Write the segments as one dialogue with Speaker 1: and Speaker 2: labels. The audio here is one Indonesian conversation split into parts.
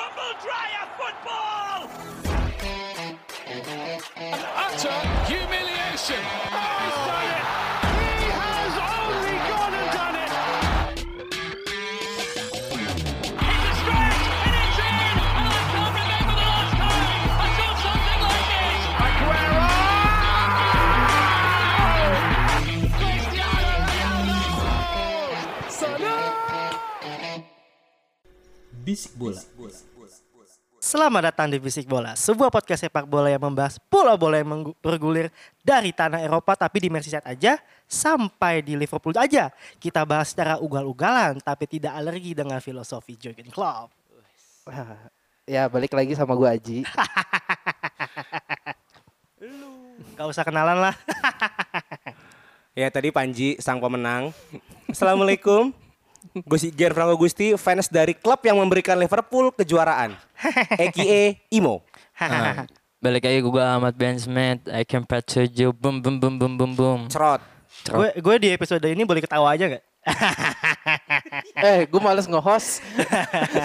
Speaker 1: Australia football!
Speaker 2: Utter humiliation.
Speaker 1: It's a stretch and it's in! And I can't remember the last time I saw something like this! Aguero! Cristiano Ronaldo!
Speaker 3: Bisik bola.
Speaker 4: Selamat datang di Fisik Bola, sebuah podcast sepak bola yang membahas bola bola yang menggu- bergulir dari tanah Eropa tapi di Merseyside aja sampai di Liverpool aja. Kita bahas secara ugal-ugalan tapi tidak alergi dengan filosofi Jurgen Klopp.
Speaker 5: Ya balik lagi sama gue Aji
Speaker 4: Gak usah kenalan lah.
Speaker 6: Ya tadi Panji sang pemenang. Assalamualaikum. Gus Iger Franco Gusti fans dari klub yang memberikan Liverpool kejuaraan. EKE Imo.
Speaker 7: Balik lagi gue Ahmad Ben Smith I can picture you Boom boom boom boom boom boom
Speaker 6: Cerot.
Speaker 4: gue gue di episode ini boleh ketawa aja gak?
Speaker 5: Eh gue males nge-host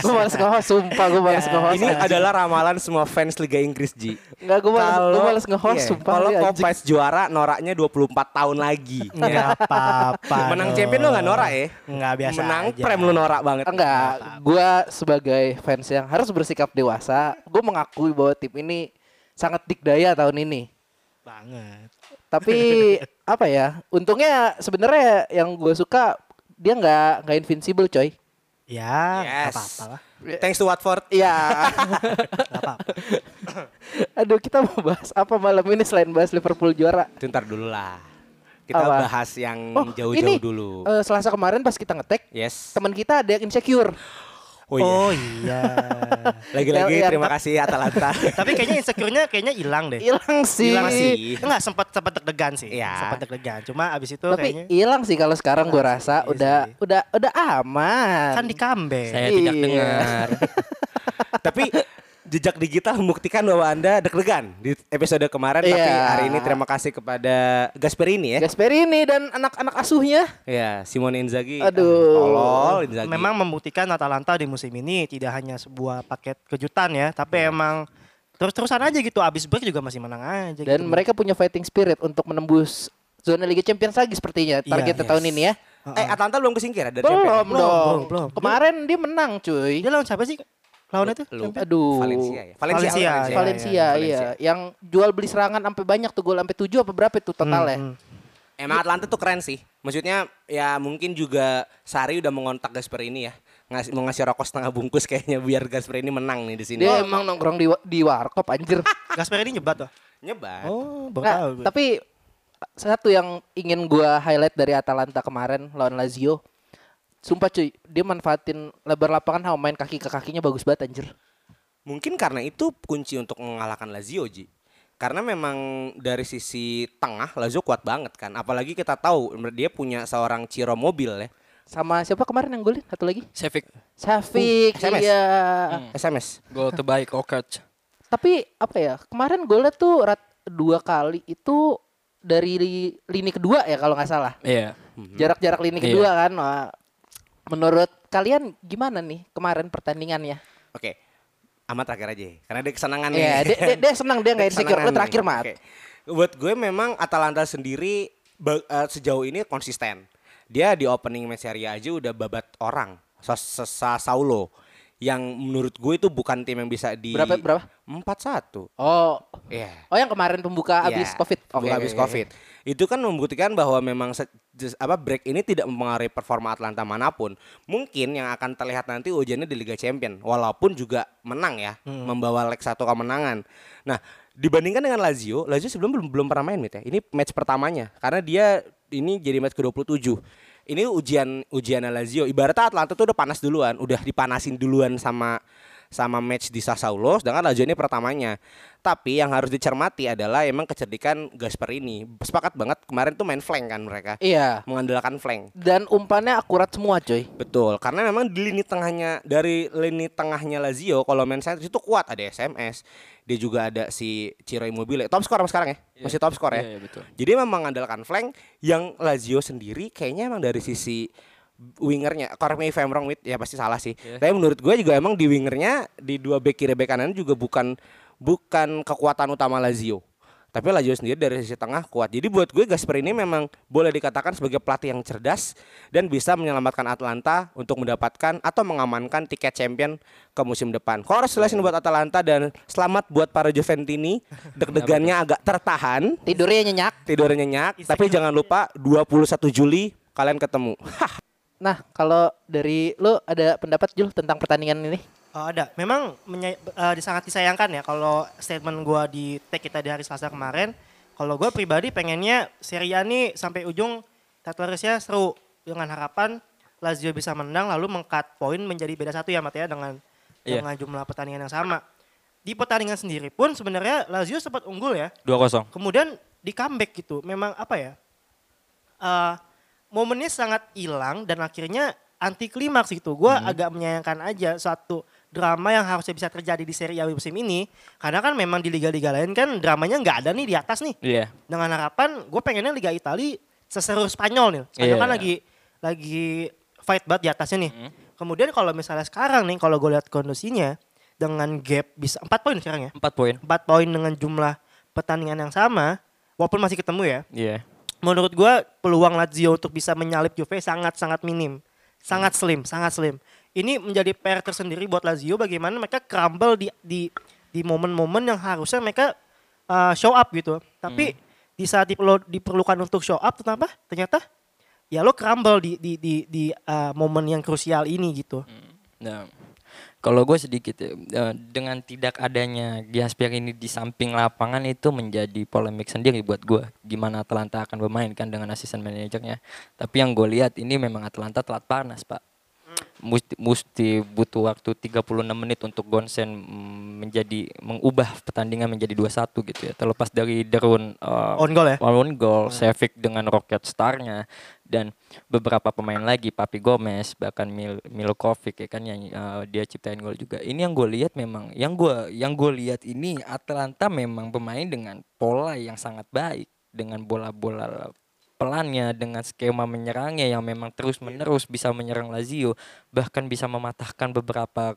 Speaker 5: Gue males nge-host Sumpah gue males nge-host
Speaker 6: Ya, Ini adalah ramalan semua fans Liga Inggris Ji.
Speaker 5: Enggak gue males, Oh, gua
Speaker 6: Kalau-
Speaker 5: males nge-host
Speaker 6: iya,
Speaker 5: Sumpah
Speaker 6: Kalau
Speaker 5: lu anjing.
Speaker 6: Kopes juara noraknya 24 tahun lagi.
Speaker 4: Enggak apa-apa.
Speaker 6: Menang champion lu gak norak ya?
Speaker 4: Enggak biasa
Speaker 6: Menang
Speaker 4: aja.
Speaker 6: prem lu norak banget.
Speaker 5: Enggak Gue sebagai fans yang harus bersikap dewasa Gue mengakui bahwa tim ini Sangat dikdaya tahun ini
Speaker 4: Banget.
Speaker 5: Tapi apa ya Untungnya sebenarnya yang gue suka Dia nggak nggak invincible coy
Speaker 4: Ya, nggak
Speaker 6: Yes.
Speaker 4: apa-apa lah.
Speaker 6: Thanks to Watford.
Speaker 5: Ya
Speaker 4: Nggak apa-apa.
Speaker 5: Aduh kita mau bahas apa malam ini selain bahas Liverpool juara
Speaker 6: Itu ntar dulu lah. Kita
Speaker 5: Apa?
Speaker 6: bahas yang
Speaker 5: Oh,
Speaker 6: Hmm, jauh-jauh
Speaker 5: ini,
Speaker 6: dulu.
Speaker 5: eh, Selasa kemarin pas kita ngetek
Speaker 6: Yes.
Speaker 5: teman kita ada yang insecure.
Speaker 6: Oh iya.
Speaker 4: Oh iya.
Speaker 6: Lagi-lagi
Speaker 5: Yang- yang-
Speaker 6: terima kasih Atalanta.
Speaker 4: tapi kayaknya insecure-nya kayaknya hilang deh.
Speaker 5: Hilang sih.
Speaker 4: Hilang
Speaker 6: Eh, sih.
Speaker 4: Enggak sempat sempat deg-degan sih.
Speaker 6: Iya.
Speaker 4: Sempat deg-degan. Cuma abis itu gitu kayaknya
Speaker 5: Tapi hilang sih kalau sekarang gue
Speaker 4: Hilang sih,
Speaker 5: rasa
Speaker 4: iya
Speaker 5: udah
Speaker 4: sih.
Speaker 5: udah udah aman.
Speaker 4: kan di comeback.
Speaker 7: Saya tidak
Speaker 5: Iya.
Speaker 7: dengar
Speaker 6: Tapi jejak digital membuktikan bahwa Anda deg-degan di episode kemarin tapi
Speaker 5: Iya.
Speaker 6: hari ini terima kasih kepada Gasperini ya.
Speaker 5: Gasperini Iya. dan anak-anak asuhnya.
Speaker 6: Ya, Simone Inzaghi.
Speaker 5: Aduh.
Speaker 6: Tolol Inzaghi.
Speaker 4: Memang membuktikan Atalanta di musim ini tidak hanya sebuah paket kejutan ya, tapi
Speaker 6: Iya.
Speaker 4: emang terus-terusan aja gitu. Abis break juga masih menang aja. gitu.
Speaker 5: Dan mereka punya fighting spirit untuk menembus zona Liga Champions lagi sepertinya
Speaker 4: Iya,
Speaker 5: targetnya
Speaker 4: Yes.
Speaker 5: tahun ini ya.
Speaker 6: eh Atalanta belum kesingkir ada ya?
Speaker 5: Belum
Speaker 4: Belum,
Speaker 5: dong.
Speaker 4: belum, belum.
Speaker 5: Kemarin dia menang cuy.
Speaker 4: dia lawan siapa sih? Lawan itu?
Speaker 6: Lu-
Speaker 4: Champions?
Speaker 5: Aduh.
Speaker 6: Valencia ya.
Speaker 4: Valencia,
Speaker 5: Valencia,
Speaker 4: iya,
Speaker 5: iya, Yang jual beli serangan sampai banyak tuh gol sampai 7 apa berapa itu total ya?
Speaker 4: Hmm,
Speaker 6: Emang Atlanta tuh keren sih. Maksudnya ya mungkin juga Sari udah mengontak Gasperini ya. Ngasih, mau ngasih rokok setengah bungkus kayaknya biar Gasperini menang nih di sini.
Speaker 4: Iya.
Speaker 5: Dia emang nongkrong di wa- di warkop anjir.
Speaker 4: Gasperini nyebat tuh.
Speaker 6: nyebat.
Speaker 4: Oh, baru
Speaker 5: Nggak,
Speaker 4: tahu gue.
Speaker 5: tapi satu yang ingin gua highlight dari Atalanta kemarin lawan Lazio. Sumpah cuy, dia manfaatin lebar lapangan sama main kaki ke kakinya bagus banget anjir.
Speaker 6: Mungkin karena itu kunci untuk mengalahkan Lazio, Ji. Karena memang dari sisi tengah Lazio kuat banget kan. Apalagi kita tahu dia punya seorang Ciro mobil ya.
Speaker 5: Sama siapa kemarin yang golin? Satu lagi?
Speaker 7: Sevik
Speaker 5: Safik.
Speaker 6: Uh, SMS.
Speaker 5: iya.
Speaker 6: SMS.
Speaker 7: Gol terbaik Okerch
Speaker 5: Tapi apa ya? Kemarin golnya tuh rat dua kali itu dari li- lini kedua ya kalau nggak salah.
Speaker 7: Iya
Speaker 6: Hmm.
Speaker 5: Jarak-jarak lini
Speaker 7: Iya.
Speaker 5: kedua kan. Wah, Menurut kalian gimana nih kemarin pertandingannya?
Speaker 6: Oke. Amat terakhir aja. ya, Karena dia kesenangan nih.
Speaker 5: Iya, dia, dia, dia senang dia nggak insecure.
Speaker 6: Kesenangan
Speaker 5: Lu
Speaker 6: nih.
Speaker 5: terakhir mat.
Speaker 6: Oke. Buat gue memang Atalanta sendiri ba- eh, sejauh ini konsisten. Dia di opening match Serie A aja udah babat orang. Sesa Saulo yang menurut gue itu bukan tim yang bisa di
Speaker 5: Berapa- berapa?
Speaker 6: 4-1.
Speaker 5: Oh,
Speaker 6: Iya.
Speaker 5: Oh yang kemarin pembuka
Speaker 6: Iya,
Speaker 5: abis covid.
Speaker 6: pembuka abis covid. Itu kan membuktikan bahwa memang se- jes- apa break ini tidak mempengaruhi performa Atlanta manapun. Mungkin yang akan terlihat nanti ujiannya di Liga Champion. Walaupun juga menang ya,
Speaker 5: Hmm.
Speaker 6: membawa leg satu kemenangan. Nah, dibandingkan dengan Lazio, Lazio sebelum belum belum pernah main Mit, ya. Ini match pertamanya karena dia ini jadi match ke-27. Ini ujian ujian Lazio. Ibaratnya Atlanta tuh udah panas duluan, udah dipanasin duluan sama sama match di Sassuolo sedangkan Lazio ini pertamanya. Tapi yang harus dicermati adalah emang kecerdikan Gasperini. Sepakat banget kemarin tuh main flank kan mereka.
Speaker 5: Iya.
Speaker 6: Mengandalkan flank.
Speaker 5: Dan umpannya akurat semua cuy.
Speaker 6: Betul, karena memang di lini tengahnya dari lini tengahnya Lazio kalau main center itu kuat ada SMS. Dia juga ada si Ciro Immobile. Top skor sekarang ya? Masih top skor ya?
Speaker 7: Iya, iya, betul.
Speaker 6: Jadi memang mengandalkan flank yang Lazio sendiri kayaknya emang dari sisi wingernya correct me if I'm wrong Wit, ya pasti salah sih tapi menurut gue juga emang di wingernya di dua back kiri back kanan juga bukan bukan kekuatan utama Lazio tapi Lazio sendiri dari sisi tengah kuat jadi buat gue Gasper ini memang boleh dikatakan sebagai pelatih yang cerdas dan bisa menyelamatkan Atlanta untuk mendapatkan atau mengamankan tiket champion ke musim depan congratulations buat Atalanta dan selamat buat para Juventini deg-degannya agak tertahan
Speaker 5: Tidurnya nyenyak.
Speaker 6: tidurnya nyenyak tapi jangan lupa 21 Juli kalian ketemu Hah,
Speaker 5: Nah, kalau dari lu ada pendapat Jul tentang pertandingan ini?
Speaker 4: Oh, ada. Memang menya- eh, sangat disayangkan ya kalau statement gua di tag kita di hari Selasa kemarin. Kalau gua pribadi pengennya Serie A nih sampai ujung Tatlerisnya seru dengan harapan Lazio bisa menang lalu mengkat poin menjadi beda satu ya Mat ya dengan
Speaker 7: Iya.
Speaker 4: dengan jumlah pertandingan yang sama. Di pertandingan sendiri pun sebenarnya Lazio sempat unggul ya.
Speaker 7: 2-0.
Speaker 4: Kemudian di comeback gitu, memang apa ya? eh, momennya sangat hilang dan akhirnya anti klimaks gitu. Gue
Speaker 7: Hmm.
Speaker 4: agak menyayangkan aja suatu drama yang harusnya bisa terjadi di Serie A musim ini. Karena kan memang di liga-liga lain kan dramanya nggak ada nih di atas nih.
Speaker 7: Iya.
Speaker 4: Dengan harapan gue pengennya Liga Italia seseru Spanyol nih. Spanyol
Speaker 7: Iya. Hmm.
Speaker 4: kan lagi lagi fight banget di atasnya nih. Kemudian kalau misalnya sekarang nih kalau gue lihat kondisinya dengan gap bisa 4 poin sekarang ya.
Speaker 7: 4 poin.
Speaker 4: 4 poin dengan jumlah pertandingan yang sama walaupun masih ketemu ya
Speaker 7: Iya.
Speaker 4: menurut gua peluang Lazio untuk bisa menyalip Juve sangat-sangat minim. Sangat slim, sangat slim. Ini menjadi PR tersendiri buat Lazio bagaimana mereka crumble di di di momen-momen yang harusnya mereka uh, show up gitu.
Speaker 6: Hmm.
Speaker 4: Tapi di saat diperlu- diperlukan untuk show up ternyata ternyata ya lo crumble di di di, di uh, momen yang krusial ini gitu.
Speaker 6: Hmm.
Speaker 7: Nah, kalau gue sedikit ya, eh, dengan tidak adanya Gaspar ini di samping lapangan itu menjadi polemik sendiri buat gue. Gimana Atlanta akan bermain kan dengan asisten manajernya. Tapi yang gue lihat ini memang Atlanta telat panas pak. Musti, musti butuh waktu 36 menit untuk Gonsen mm, menjadi mengubah pertandingan menjadi 2-1 gitu ya. Terlepas dari derun eh,
Speaker 4: On goal ya?
Speaker 7: Walaupun gol, Savic dengan rocket starnya dan beberapa pemain lagi, Papi Gomez bahkan Mil Milukovic ya kan yang eh, dia ciptain gol juga. Ini yang gue lihat memang, yang gue yang gue lihat ini Atlanta memang bermain dengan pola yang sangat baik dengan bola-bola pelannya dengan skema menyerangnya yang memang terus menerus bisa menyerang Lazio bahkan bisa mematahkan beberapa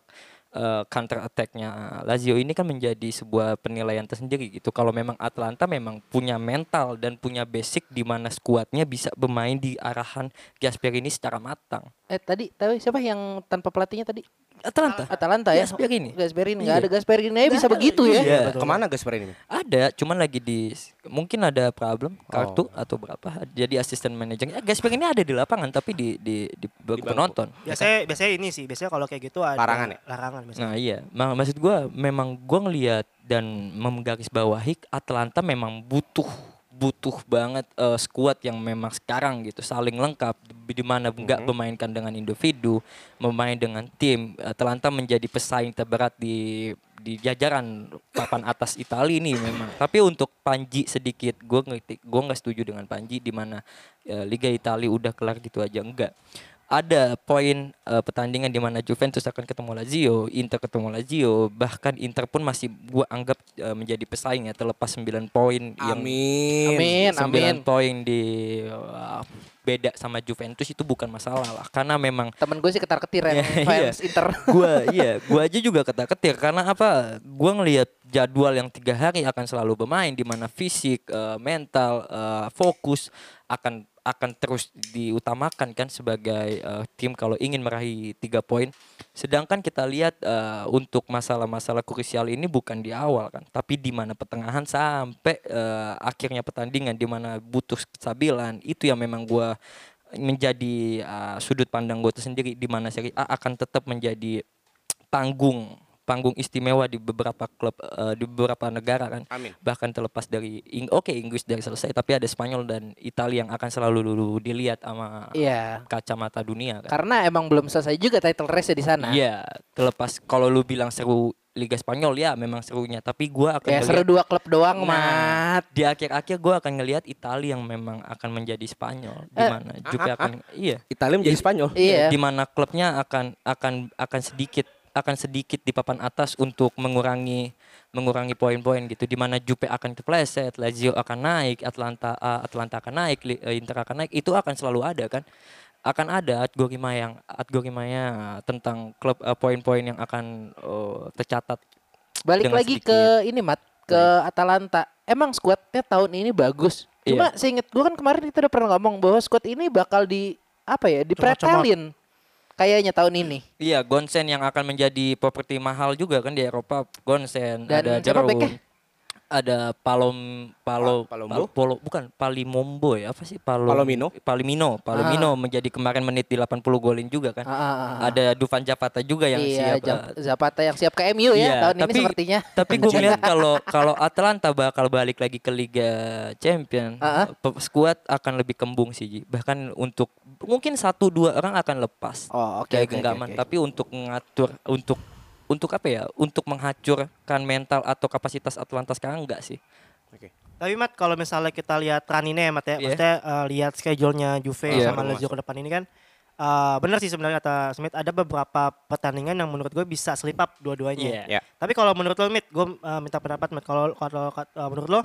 Speaker 7: eh, counter attack-nya Lazio ini kan menjadi sebuah penilaian tersendiri gitu. Kalau memang Atlanta memang punya mental dan punya basic di mana skuadnya bisa bermain di arahan Gasperini secara matang.
Speaker 5: Eh tadi tahu siapa yang tanpa pelatihnya tadi?
Speaker 7: Atlanta
Speaker 5: Atalanta ya.
Speaker 7: Gasperini.
Speaker 5: Gasperini. Nggak
Speaker 7: Iya.
Speaker 5: ada Gasperini aja bisa begitu ya.
Speaker 7: Iya.
Speaker 6: kemana Gasper ini
Speaker 7: Ada, cuman lagi di mungkin ada problem kartu atau berapa. Jadi asisten manajernya eh, Gasperini ada di lapangan tapi di di di,
Speaker 6: bangku.
Speaker 7: penonton. ya kan?
Speaker 4: Biasanya biasanya ini sih, biasanya kalau kayak gitu ada
Speaker 6: Larangan ya?
Speaker 4: Larangan biasanya.
Speaker 7: Nah iya, Ma- maksud gua memang gua ngelihat dan menggarisbawahi Atlanta memang butuh butuh banget eh, skuad yang memang sekarang gitu saling lengkap di di mana nggak memainkan dengan individu, memain dengan tim. Atlanta menjadi pesaing terberat di di jajaran papan atas Italia ini memang. Tapi untuk Panji sedikit, gua ngerti, gua nggak setuju dengan Panji di mana eh, Liga Italia udah kelar gitu aja enggak ada poin eh, pertandingan di mana Juventus akan ketemu Lazio, Inter ketemu Lazio, bahkan Inter pun masih gua anggap eh, menjadi pesaing ya terlepas 9 poin yang
Speaker 6: Amin.
Speaker 5: Amin, amin.
Speaker 7: 9 poin di eh, beda sama Juventus itu bukan masalah lah karena memang
Speaker 5: Temen gue sih ketar-ketir
Speaker 7: Iya,
Speaker 5: yang fans
Speaker 7: iya.
Speaker 5: Inter.
Speaker 7: gua iya gua aja juga ketar ketir karena apa gua ngelihat jadwal yang tiga hari akan selalu bermain di mana fisik eh, mental eh, fokus akan akan terus diutamakan kan sebagai eh, tim kalau ingin meraih tiga poin sedangkan kita lihat eh, untuk masalah-masalah krusial ini bukan di awal kan tapi di mana pertengahan sampai eh, akhirnya pertandingan di mana butuh kestabilan itu yang memang gua menjadi uh, sudut pandang gue tersendiri di mana Serie A akan tetap menjadi panggung panggung istimewa di beberapa klub uh, di beberapa negara kan
Speaker 6: Amin.
Speaker 7: bahkan terlepas dari Ing- oke Inggris dari selesai tapi ada Spanyol dan Italia yang akan selalu dulu dilihat sama
Speaker 5: Iya.
Speaker 7: kacamata dunia kan
Speaker 5: Karena emang belum selesai juga title race di sana.
Speaker 7: Iya, terlepas kalau lu bilang seru Liga Spanyol ya memang serunya, tapi gua akan
Speaker 5: Ya
Speaker 7: melihat-
Speaker 5: seru dua klub doang,
Speaker 7: Nah,
Speaker 5: Mat.
Speaker 7: Di akhir-akhir gua akan ngelihat Italia yang memang akan menjadi Spanyol di
Speaker 5: Eh,
Speaker 7: mana Juve akan iya.
Speaker 6: Italia menjadi Spanyol
Speaker 5: Iya.
Speaker 7: di mana klubnya akan akan akan sedikit akan sedikit di papan atas untuk mengurangi mengurangi poin-poin gitu di mana Juve akan kepleset, Lazio akan naik, Atlanta eh, Atlanta akan naik, Li- eh, Inter akan naik, itu akan selalu ada kan. akan ada algoritma yang algoritmanya tentang klub eh, poin-poin yang akan eh, tercatat.
Speaker 5: Balik
Speaker 7: dengan
Speaker 5: lagi ke ini Mat, ke Atalanta. Emang skuadnya tahun ini bagus.
Speaker 7: Iya.
Speaker 5: Cuma seinget gue kan kemarin kita udah pernah ngomong bahwa skuad ini bakal di apa ya, dipretelin kayaknya tahun ini.
Speaker 7: Iya, Gonsen yang akan menjadi properti mahal juga kan di Eropa. Gonsen
Speaker 5: Dan
Speaker 7: ada
Speaker 5: siapa
Speaker 7: Jerome,
Speaker 5: backnya?
Speaker 7: ada Palom Palo
Speaker 6: Pa- Palombo?
Speaker 7: Pal- Polo- bukan Palimombo ya apa sih Palo,
Speaker 6: Palomino?
Speaker 7: Palimino Palomino menjadi kemarin menit di 80 golin juga kan.
Speaker 5: Ah, ah, ah, ah.
Speaker 7: Ada Dufan Zapata juga yang
Speaker 5: iya,
Speaker 7: siap
Speaker 5: Jap-
Speaker 7: eh,
Speaker 5: Zapata yang siap ke MU ya
Speaker 7: Iya,
Speaker 5: tahun ini sepertinya. Iya.
Speaker 7: Tapi gue ngeliat kalau kalau Atlanta bakal balik lagi ke Liga Champion,
Speaker 5: Ah, ah.
Speaker 7: pe- skuad akan lebih kembung sih. Ji. Bahkan untuk mungkin satu dua orang akan lepas.
Speaker 5: Oh, oke,
Speaker 7: Kayak
Speaker 5: oke, oke,
Speaker 7: genggaman.
Speaker 5: oke.
Speaker 7: Tapi untuk ngatur untuk untuk apa ya? Untuk menghancurkan mental atau kapasitas Atlanta sekarang enggak sih?
Speaker 4: Tapi Mat kalau misalnya kita lihat tren ini ya Mat
Speaker 7: Iya.
Speaker 4: ya, maksudnya eh, lihat schedule-nya Juve
Speaker 7: Iya,
Speaker 4: sama
Speaker 6: benar,
Speaker 4: Lazio ke depan ini kan eh, benar sih sebenarnya kata Smith ada beberapa pertandingan yang menurut gue bisa slip up dua-duanya.
Speaker 6: Iya.
Speaker 4: Tapi kalau menurut lo Mit, gue eh, minta pendapat Mit kalau kalau eh, menurut lo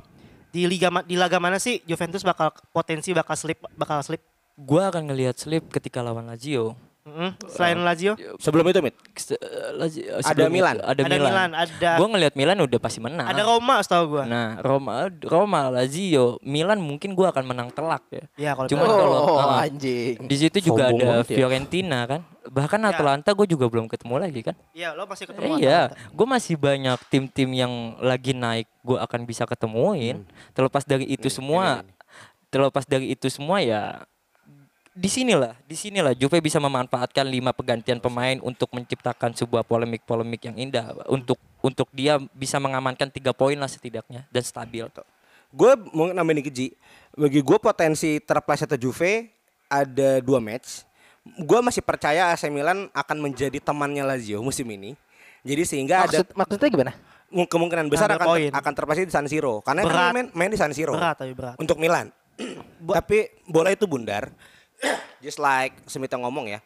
Speaker 4: di liga ma- di laga mana sih Juventus bakal potensi bakal slip bakal slip?
Speaker 7: Gue akan ngelihat slip ketika lawan Lazio.
Speaker 4: Mm-mm. Hmm? Selain
Speaker 7: Eh,
Speaker 4: Lazio
Speaker 6: Sebelum itu, Mit.
Speaker 7: Se- eh, Lazio- eh,
Speaker 6: Ada
Speaker 7: sebelum
Speaker 6: Milan.
Speaker 7: itu Ada,
Speaker 4: Ada
Speaker 7: Milan.
Speaker 4: Milan, ada-
Speaker 7: Gue ngelihat Milan udah pasti menang.
Speaker 4: ada Roma setahu gue.
Speaker 7: Nah, Roma, Roma, Lazio, Milan mungkin gua akan menang telak ya.
Speaker 4: Iya, kalau
Speaker 7: Cuman
Speaker 4: Milan.
Speaker 7: kalau
Speaker 5: Oh,
Speaker 7: uh,
Speaker 5: anjing.
Speaker 7: di situ juga
Speaker 5: Sombong
Speaker 7: ada
Speaker 5: banget ya.
Speaker 7: Fiorentina kan. Bahkan Atalanta gue juga belum ketemu lagi kan.
Speaker 4: Iya, lo masih ketemu.
Speaker 7: Eh, iya,
Speaker 4: Atalanta.
Speaker 7: gue masih banyak tim-tim yang lagi naik gua akan bisa ketemuin.
Speaker 5: Hmm.
Speaker 7: Terlepas dari itu semua, terlepas dari itu semua ya di sinilah, di sinilah Juve bisa memanfaatkan lima pergantian pemain untuk menciptakan sebuah polemik-polemik yang indah untuk untuk dia bisa mengamankan tiga poin lah setidaknya dan stabil.
Speaker 6: Gue mau nambahin dikit, Ji. Bagi gue potensi terpleset ke Juve ada dua match. Gue masih percaya AC Milan akan menjadi temannya Lazio musim ini. Jadi sehingga ada
Speaker 5: Maksud, maksudnya gimana?
Speaker 6: mu- kemungkinan besar
Speaker 4: Ngambil
Speaker 6: akan ter-
Speaker 4: poin.
Speaker 6: akan terpleset di San Siro karena kan
Speaker 4: Berat.
Speaker 6: main, main di San Siro.
Speaker 4: Berat tapi berat.
Speaker 6: Untuk Milan. Tapi bola itu bundar. Just like Semita ngomong ya.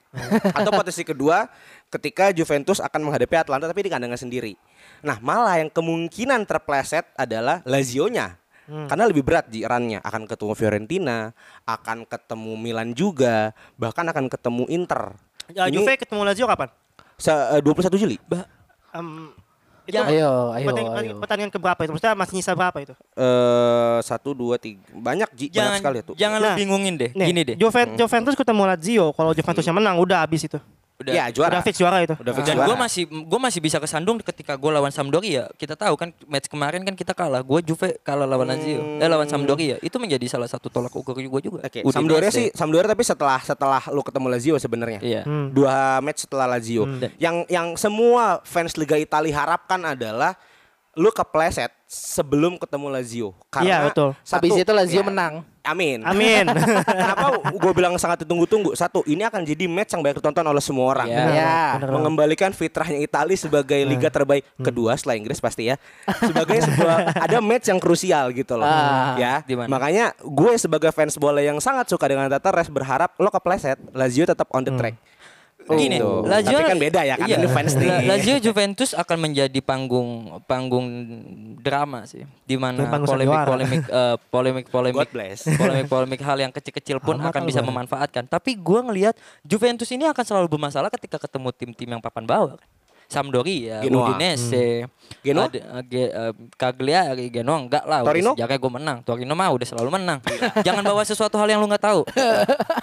Speaker 6: Atau potensi kedua ketika Juventus akan menghadapi Atlanta tapi di kandangnya sendiri. Nah, malah yang kemungkinan terpleset adalah Lazio-nya.
Speaker 4: Hmm.
Speaker 6: Karena lebih berat di run-nya. akan ketemu Fiorentina, akan ketemu Milan juga, bahkan akan ketemu Inter. eh,
Speaker 4: Ya,
Speaker 6: Ini
Speaker 4: Juve ketemu Lazio kapan?
Speaker 6: se- 21 Juli.
Speaker 4: Em, itu
Speaker 5: Ya, ayo, ayo,
Speaker 4: pertandingan,
Speaker 5: ayo.
Speaker 4: pertandingan keberapa itu? Maksudnya masih nyisa berapa itu?
Speaker 6: Eh, satu dua tiga banyak Ji, banyak
Speaker 7: jangan
Speaker 6: sekali ya, tuh.
Speaker 7: jangan lu
Speaker 4: Nah,
Speaker 7: bingungin
Speaker 6: Eh,
Speaker 7: deh
Speaker 4: Nih,
Speaker 7: gini deh
Speaker 6: Hmm.
Speaker 4: Juven- Juventus ketemu Lazio. Kalau Juventusnya menang, udah habis itu.
Speaker 7: udah
Speaker 6: ya Hmm. juara.
Speaker 4: Udah fix juara itu.
Speaker 6: Udah fix
Speaker 7: dan
Speaker 6: juara.
Speaker 7: gue masih gue masih bisa kesandung ketika gue lawan Sampdoria kita tahu kan match kemarin kan kita kalah gue Juve kalah lawan Lazio eh lawan Sampdoria itu menjadi salah satu tolak ukur gue juga
Speaker 6: Hmm. Oke,
Speaker 7: Udinese.
Speaker 6: Sampdoria sih Hmm. Sampdoria tapi setelah setelah lu ketemu Lazio sebenarnya.
Speaker 7: ya. Iya.
Speaker 4: Hmm.
Speaker 6: Dua match setelah Lazio. Yang yang semua fans Liga Italia harapkan adalah lu kepleset sebelum ketemu Lazio. Karena
Speaker 4: Iya, betul.
Speaker 6: satu-
Speaker 5: Habis itu Lazio
Speaker 7: Iya.
Speaker 6: ya,
Speaker 5: menang.
Speaker 6: Amin.
Speaker 4: Amin.
Speaker 6: Kenapa gue bilang sangat ditunggu-tunggu? Satu, ini akan jadi match yang banyak ditonton oleh semua orang.
Speaker 7: Iya.
Speaker 5: Ya.
Speaker 4: Bener banget.
Speaker 6: Mengembalikan fitrahnya Italia sebagai
Speaker 7: Ah.
Speaker 6: liga terbaik
Speaker 7: Hmm.
Speaker 6: kedua setelah Inggris pasti ya. Sebagai sebuah ada match yang krusial gitu loh.
Speaker 5: Ah,
Speaker 6: ya.
Speaker 7: di mana?
Speaker 6: Makanya gue sebagai fans bola yang sangat suka dengan Tata Res berharap lo kepleset, Lazio tetap on the track.
Speaker 7: Hmm. Oh. Gini,
Speaker 6: Gitu.
Speaker 7: Lazio
Speaker 6: Tapi kan beda ya kan
Speaker 7: iya.
Speaker 6: ini fans nih.
Speaker 7: La- Lazio Juventus akan menjadi panggung panggung drama sih, di mana
Speaker 4: Dan panggung
Speaker 7: polemik
Speaker 4: sandiwara.
Speaker 7: polemik eh, polemik polemik
Speaker 6: God bless.
Speaker 7: polemik polemik hal yang kecil-kecil pun
Speaker 4: Amat
Speaker 7: akan bisa
Speaker 4: Allah.
Speaker 7: memanfaatkan. Tapi gua ngelihat Juventus ini akan selalu bermasalah ketika ketemu tim-tim yang papan bawah. kan. Sampdoria,
Speaker 6: Genoa. Hmm.
Speaker 7: Udinese,
Speaker 6: Genoa?
Speaker 7: ada, eh, Ge- eh, Cagliari, Genoa enggak lah.
Speaker 6: Torino?
Speaker 7: Jaga gue menang. Torino mah udah selalu menang. Jangan bawa sesuatu hal yang lu nggak tahu.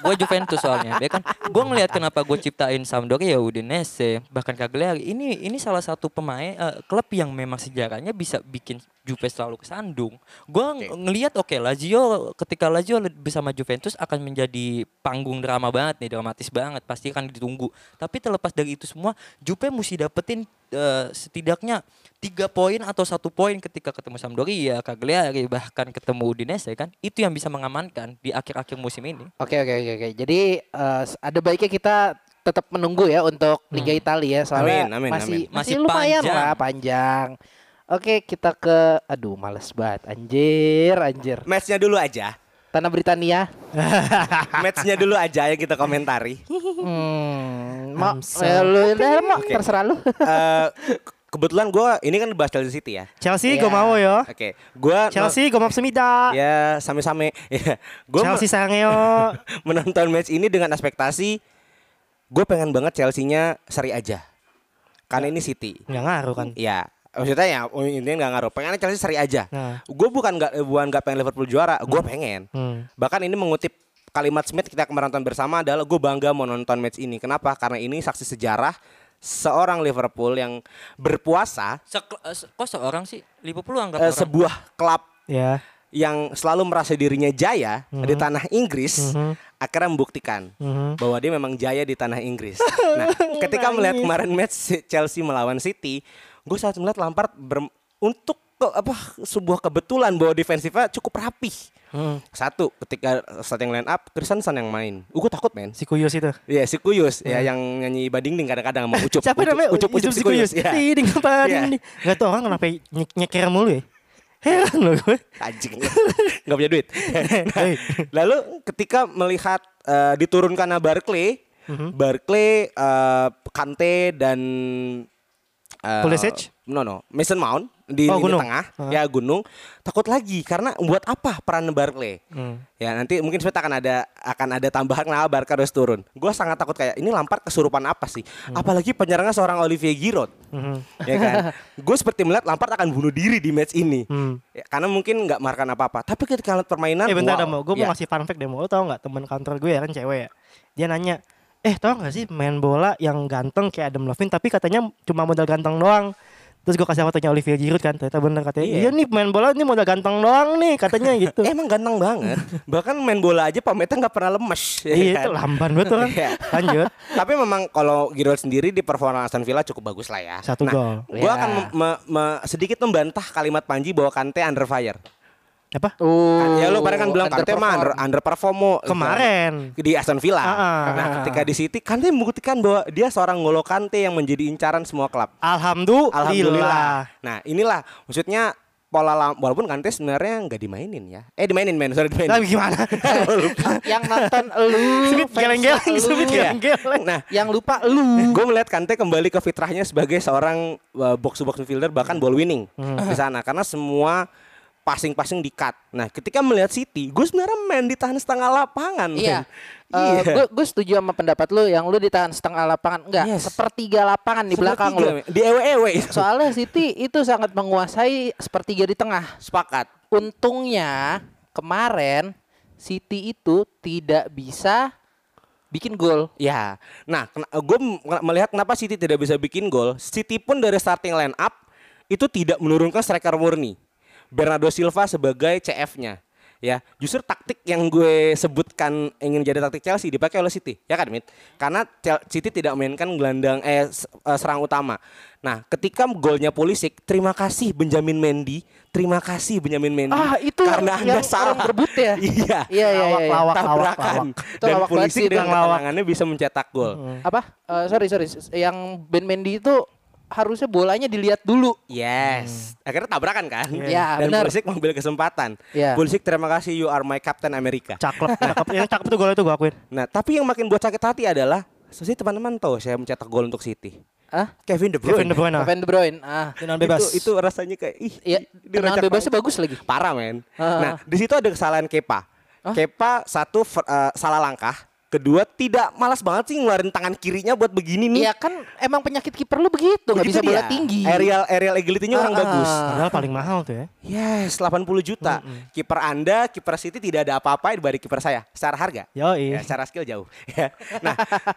Speaker 7: gue Juventus soalnya, ya kan. Gue ngelihat kenapa gue ciptain Sampdoria, ya Udinese, bahkan Cagliari. Ini ini salah satu pemain eh, klub yang memang sejarahnya bisa bikin Juve selalu kesandung. Gue ngelihat oke Lazio ketika Lazio le- bersama Juventus akan menjadi panggung drama banget nih, dramatis banget. Pasti akan ditunggu. Tapi terlepas dari itu semua, Juve mesti dapetin eh, setidaknya tiga poin atau satu poin ketika ketemu Sampdoria, Cagliari bahkan ketemu Udinese kan itu yang bisa mengamankan di akhir-akhir musim ini.
Speaker 5: Oke oke oke oke. Jadi eh, s- ada baiknya kita tetap menunggu ya untuk Liga Italia ya soalnya
Speaker 6: Hmm. Amin, amin,
Speaker 5: masih,
Speaker 7: amin.
Speaker 5: masih
Speaker 7: Masih
Speaker 5: lumayan
Speaker 7: panjang.
Speaker 5: lah panjang. Oke, kita ke aduh males banget anjir anjir.
Speaker 6: Matchnya dulu aja.
Speaker 5: Tanah Britania.
Speaker 6: Matchnya dulu aja yang kita komentari.
Speaker 5: Hmm, mau
Speaker 4: I'm so
Speaker 5: eh, lu udah, mau terserah lu.
Speaker 6: Eh, kebetulan gue ini kan bahas Chelsea City ya.
Speaker 4: Chelsea gue mau yo.
Speaker 6: Oke, gue
Speaker 4: Chelsea gue mau semida.
Speaker 6: ya same-same. Ya, gue
Speaker 4: Chelsea sangeo.
Speaker 6: menonton match ini dengan ekspektasi gue pengen banget Chelsea-nya seri aja. Karena ini City.
Speaker 4: Nggak ngaruh kan.
Speaker 6: Ya, maksudnya ya intinya nggak ngaruh. Pengennya Chelsea seri aja.
Speaker 4: Nah.
Speaker 6: Gue bukan nggak eh, bukan nggak pengen Liverpool juara. Gue pengen.
Speaker 4: Hmm.
Speaker 6: Bahkan ini mengutip kalimat Smith kita kemarin nonton bersama adalah gue bangga mau nonton match ini. Kenapa? Karena ini saksi sejarah seorang Liverpool yang berpuasa
Speaker 7: Sek- eh, se- kok seorang sih? Liverpool anggap
Speaker 6: eh,
Speaker 7: orang.
Speaker 6: sebuah klub
Speaker 4: Ya.
Speaker 6: yang selalu merasa dirinya jaya di
Speaker 4: Mhm.
Speaker 6: tanah Inggris akhirnya membuktikan bahwa dia memang jaya di tanah Inggris. Nah, ketika melihat kemarin match si- Chelsea melawan City, gue saat melihat Lampard ber- untuk ke- apa sebuah kebetulan bahwa defensifnya cukup rapih.
Speaker 4: Hmm.
Speaker 6: Satu, ketika starting line up, Christensen yang main. Uh, gue takut men.
Speaker 4: Si Kuyus itu.
Speaker 6: Iya, si Kuyus ya yang nyanyi badingding kadang-kadang sama Ucup.
Speaker 4: Hmm. Siapa namanya?
Speaker 6: Ucup, Ucup, Ucup si Kuyus. Iya.
Speaker 4: Si ding apa
Speaker 6: Iya.
Speaker 4: ding ding. Gak tau orang kenapa nyek nyeker mulu ya. Heran loh gue.
Speaker 6: anjing nggak punya duit Nah,
Speaker 4: Hey.
Speaker 6: lalu ketika melihat eh, diturunkan Barclay
Speaker 4: Mhm.
Speaker 6: Barclay eh, Kante dan eh,
Speaker 4: Pulisic?
Speaker 6: no no Mason Mount di
Speaker 4: Oh,
Speaker 6: lini
Speaker 4: Gunung.
Speaker 6: tengah
Speaker 4: Ah.
Speaker 6: ya gunung takut lagi karena buat apa peran Barclay
Speaker 4: Hmm.
Speaker 6: ya nanti mungkin sebentar akan ada akan ada tambahan kenapa Barca harus turun gue sangat takut kayak ini Lampard kesurupan apa sih
Speaker 4: Hmm.
Speaker 6: apalagi penyerangnya seorang Olivier Giroud ya kan gue seperti melihat Lampard akan bunuh diri di match ini Ya, karena mungkin nggak markan apa-apa tapi ketika lihat permainan
Speaker 4: Hmm. Eh bentar
Speaker 6: wow.
Speaker 4: dong, gue
Speaker 6: Ya.
Speaker 4: mau ngasih fun fact deh. Mau tau gak temen kantor gue ya kan cewek ya. Dia nanya, eh tau gak sih main bola yang ganteng kayak Adam Levine tapi katanya cuma modal ganteng doang. Terus gue kasih fotonya Olivier Giroud kan, ternyata bener katanya.
Speaker 6: Iya.
Speaker 4: Iya nih main bola ini modal ganteng doang nih katanya gitu.
Speaker 6: emang ganteng banget bahkan main bola aja pametnya nggak pernah lemes ya
Speaker 4: Iya
Speaker 6: kan?
Speaker 4: itu lamban betul kan.
Speaker 6: Iya.
Speaker 4: Lanjut.
Speaker 6: Tapi memang kalau Giroud sendiri di performa Aston Villa cukup bagus lah ya.
Speaker 4: Satu gol. Iya.
Speaker 6: Gue
Speaker 5: Ya.
Speaker 6: akan mem- me- me- sedikit membantah kalimat Panji bahwa Kante under fire.
Speaker 4: Apa?
Speaker 5: Oh,
Speaker 6: ya lu kemarin kan bilang Kante mah under, underperform mo.
Speaker 4: Kemarin.
Speaker 6: di Aston Villa.
Speaker 4: Ah.
Speaker 6: Nah, ketika di City Kante membuktikan bahwa dia seorang Ngolo Kante yang menjadi incaran semua klub.
Speaker 4: Alhamdulillah.
Speaker 6: Alhamdulillah. Nah, inilah maksudnya pola lam- walaupun Kante sebenarnya nggak dimainin ya. Eh dimainin men, sorry dimainin.
Speaker 4: Tapi gimana?
Speaker 6: Gua lupa.
Speaker 5: yang nonton lu,
Speaker 4: Sempit
Speaker 5: fans
Speaker 4: geleng-geleng,
Speaker 5: lu, Iya.
Speaker 4: sempit geleng-geleng.
Speaker 6: nah,
Speaker 5: yang lupa lu.
Speaker 6: gue melihat Kante kembali ke fitrahnya sebagai seorang uh, box to box midfielder bahkan ball winning
Speaker 5: Hmm.
Speaker 6: di sana karena semua passing-passing di cut. Nah, ketika melihat City, gue sebenarnya main ditahan setengah lapangan. men.
Speaker 5: Iya.
Speaker 6: Iya.
Speaker 5: gue gue setuju sama pendapat lu yang lu ditahan setengah lapangan enggak
Speaker 6: Yes.
Speaker 5: sepertiga lapangan di belakang
Speaker 6: Sepertiga,
Speaker 5: lu.
Speaker 6: men. Di ewe-ewe.
Speaker 5: Soalnya City itu sangat menguasai sepertiga di tengah.
Speaker 6: Sepakat.
Speaker 5: Untungnya kemarin City itu tidak bisa bikin gol.
Speaker 6: Ya. Nah, gue melihat kenapa City tidak bisa bikin gol. City pun dari starting line up itu tidak menurunkan striker murni. Bernardo Silva sebagai CF-nya. Ya, justru taktik yang gue sebutkan ingin jadi taktik Chelsea dipakai oleh City, ya kan, Mit? Karena Chel- City tidak mainkan gelandang eh s- eh, serang utama. Nah, ketika golnya Pulisic, terima kasih Benjamin Mendy, terima kasih Benjamin Mendy.
Speaker 5: Ah, itu
Speaker 6: karena
Speaker 5: yang-
Speaker 6: Anda
Speaker 5: yang
Speaker 6: salah
Speaker 5: orang rebut ya?
Speaker 6: iya.
Speaker 5: Iya iya iya. iya.
Speaker 4: Lawak, lawak,
Speaker 6: tabrakan
Speaker 4: lawak.
Speaker 5: Itu
Speaker 6: dan
Speaker 5: lawak banget
Speaker 6: polisi
Speaker 5: sih,
Speaker 6: dengan
Speaker 5: itu lawak.
Speaker 6: ketenangannya bisa mencetak gol.
Speaker 5: Apa? Eh, sorry sorry. Yang Ben Mendy itu harusnya bolanya dilihat dulu.
Speaker 6: Yes, akhirnya tabrakan kan?
Speaker 5: Iya,
Speaker 6: dan
Speaker 5: benar.
Speaker 6: Pulisic mengambil kesempatan.
Speaker 5: Iya.
Speaker 6: Pulisic terima kasih you are my captain America.
Speaker 4: Caklek, cakep. Yang eh, cakep tuh gol itu gue akuin.
Speaker 6: Nah, tapi yang makin buat sakit hati adalah sih teman-teman tahu saya mencetak gol untuk City.
Speaker 5: Ah,
Speaker 6: Kevin De Bruyne.
Speaker 4: Kevin De Bruyne. ah.
Speaker 5: Kevin De Bruyne. Ah.
Speaker 4: Tendangan bebas.
Speaker 6: Itu, itu rasanya kayak ih.
Speaker 5: Iya, tendangan
Speaker 6: diracak
Speaker 5: bebasnya
Speaker 6: banget.
Speaker 5: bagus lagi.
Speaker 6: Parah men.
Speaker 5: Ah.
Speaker 6: Nah, di situ ada kesalahan Kepa. Kepa satu fer- eh, salah langkah, kedua tidak malas banget sih ngeluarin tangan kirinya buat begini nih.
Speaker 5: Iya kan emang penyakit kiper lu begitu nggak bisa
Speaker 6: Begitu
Speaker 5: bola
Speaker 6: dia.
Speaker 5: tinggi.
Speaker 6: Aerial aerial agility-nya orang
Speaker 5: Ah, ah.
Speaker 6: bagus.
Speaker 4: Padahal paling mahal tuh ya.
Speaker 6: Yes, 80 juta. Kiper Anda, kiper City tidak ada apa-apa dibanding kiper saya secara harga.
Speaker 4: Yoi.
Speaker 5: iya.
Speaker 6: Ya, secara skill jauh. Ya. nah,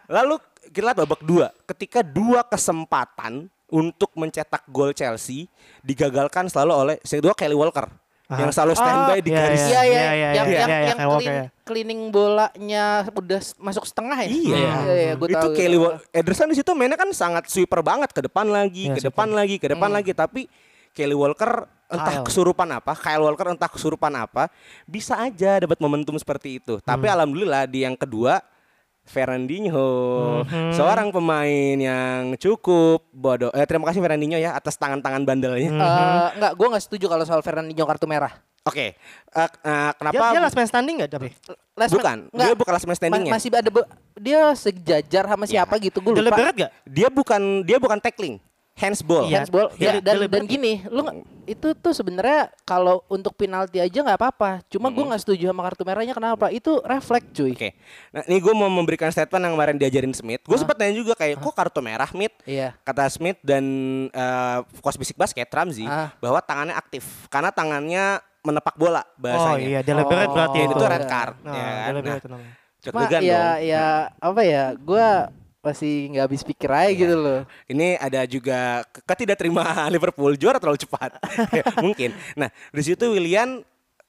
Speaker 6: lalu kita lihat babak dua. Ketika dua kesempatan untuk mencetak gol Chelsea digagalkan selalu oleh kedua Kelly Walker yang selalu standby di
Speaker 4: iya,
Speaker 6: garis.
Speaker 5: Iya iya,
Speaker 4: Iya, iya,
Speaker 5: yang
Speaker 4: iya,
Speaker 5: yang
Speaker 4: iya, iya,
Speaker 5: yang
Speaker 4: kayak Walker
Speaker 5: clean-
Speaker 4: ya.
Speaker 5: cleaning bolanya udah s- masuk setengah ya.
Speaker 6: Iya.
Speaker 5: iya, iya gua
Speaker 6: itu
Speaker 5: tahu.
Speaker 6: Kelly Wa- Ederson di situ mainnya kan sangat sweeper banget ke depan lagi,
Speaker 4: Iya,
Speaker 6: ke depan lagi, ke
Speaker 5: Hmm.
Speaker 6: depan lagi tapi Kelly Walker entah
Speaker 4: Kyle.
Speaker 6: kesurupan apa, Kyle Walker entah kesurupan apa, bisa aja dapat momentum seperti itu. Tapi
Speaker 4: Hmm.
Speaker 6: alhamdulillah di yang kedua Fernandinho,
Speaker 4: Hmm.
Speaker 6: seorang pemain yang cukup bodoh. Eh, terima kasih Fernandinho ya atas tangan-tangan
Speaker 4: Hmm.
Speaker 5: Eh,
Speaker 6: bandelnya.
Speaker 4: Mhm.
Speaker 5: enggak, gua enggak setuju kalau soal Fernandinho kartu merah.
Speaker 6: Oke, eh, eh, kenapa?
Speaker 4: Dia, dia last man standing gak tapi?
Speaker 5: Last man-
Speaker 6: Bukan,
Speaker 5: enggak.
Speaker 6: dia bukan last man standing-nya. Iya.
Speaker 5: masih ada be- dia sejajar sama siapa gitu gue
Speaker 4: Udah
Speaker 5: lupa.
Speaker 4: lebih berat gak?
Speaker 6: dia bukan dia bukan tackling. Handsball.
Speaker 4: Iya.
Speaker 5: Handsball.
Speaker 4: Iya.
Speaker 5: Ya, dan,
Speaker 4: Deliberate.
Speaker 5: dan gini, lu nggak- itu tuh sebenarnya kalau untuk penalti aja nggak apa-apa. Cuma gue nggak setuju sama kartu merahnya kenapa? Itu refleks cuy.
Speaker 6: Mhm. Oke. Nah, ini gue mau memberikan statement yang kemarin diajarin Smith.
Speaker 5: Ah.
Speaker 6: Gue sempat nanya juga kayak kok kartu merah, Smith?
Speaker 5: Iya.
Speaker 6: Kata Smith dan eh coach bisik basket Ramzi
Speaker 5: Ah.
Speaker 6: bahwa tangannya aktif karena tangannya menepak
Speaker 4: Oh
Speaker 6: bola bahasanya.
Speaker 4: iya, deliberate
Speaker 5: Oh.
Speaker 4: berarti
Speaker 6: Ya,
Speaker 4: itu.
Speaker 6: itu red card.
Speaker 4: Nah,
Speaker 6: ya kan? Nah,
Speaker 4: deliberate namanya.
Speaker 5: Cuma ya
Speaker 6: deg-degan dong. Nah,
Speaker 5: ya apa ya? Gue masih nggak habis pikir aja
Speaker 6: Iya.
Speaker 5: gitu loh.
Speaker 6: Ini ada juga ke- ketidakterima Liverpool juara terlalu cepat. Ya, Mungkin. Nah, di situ Willian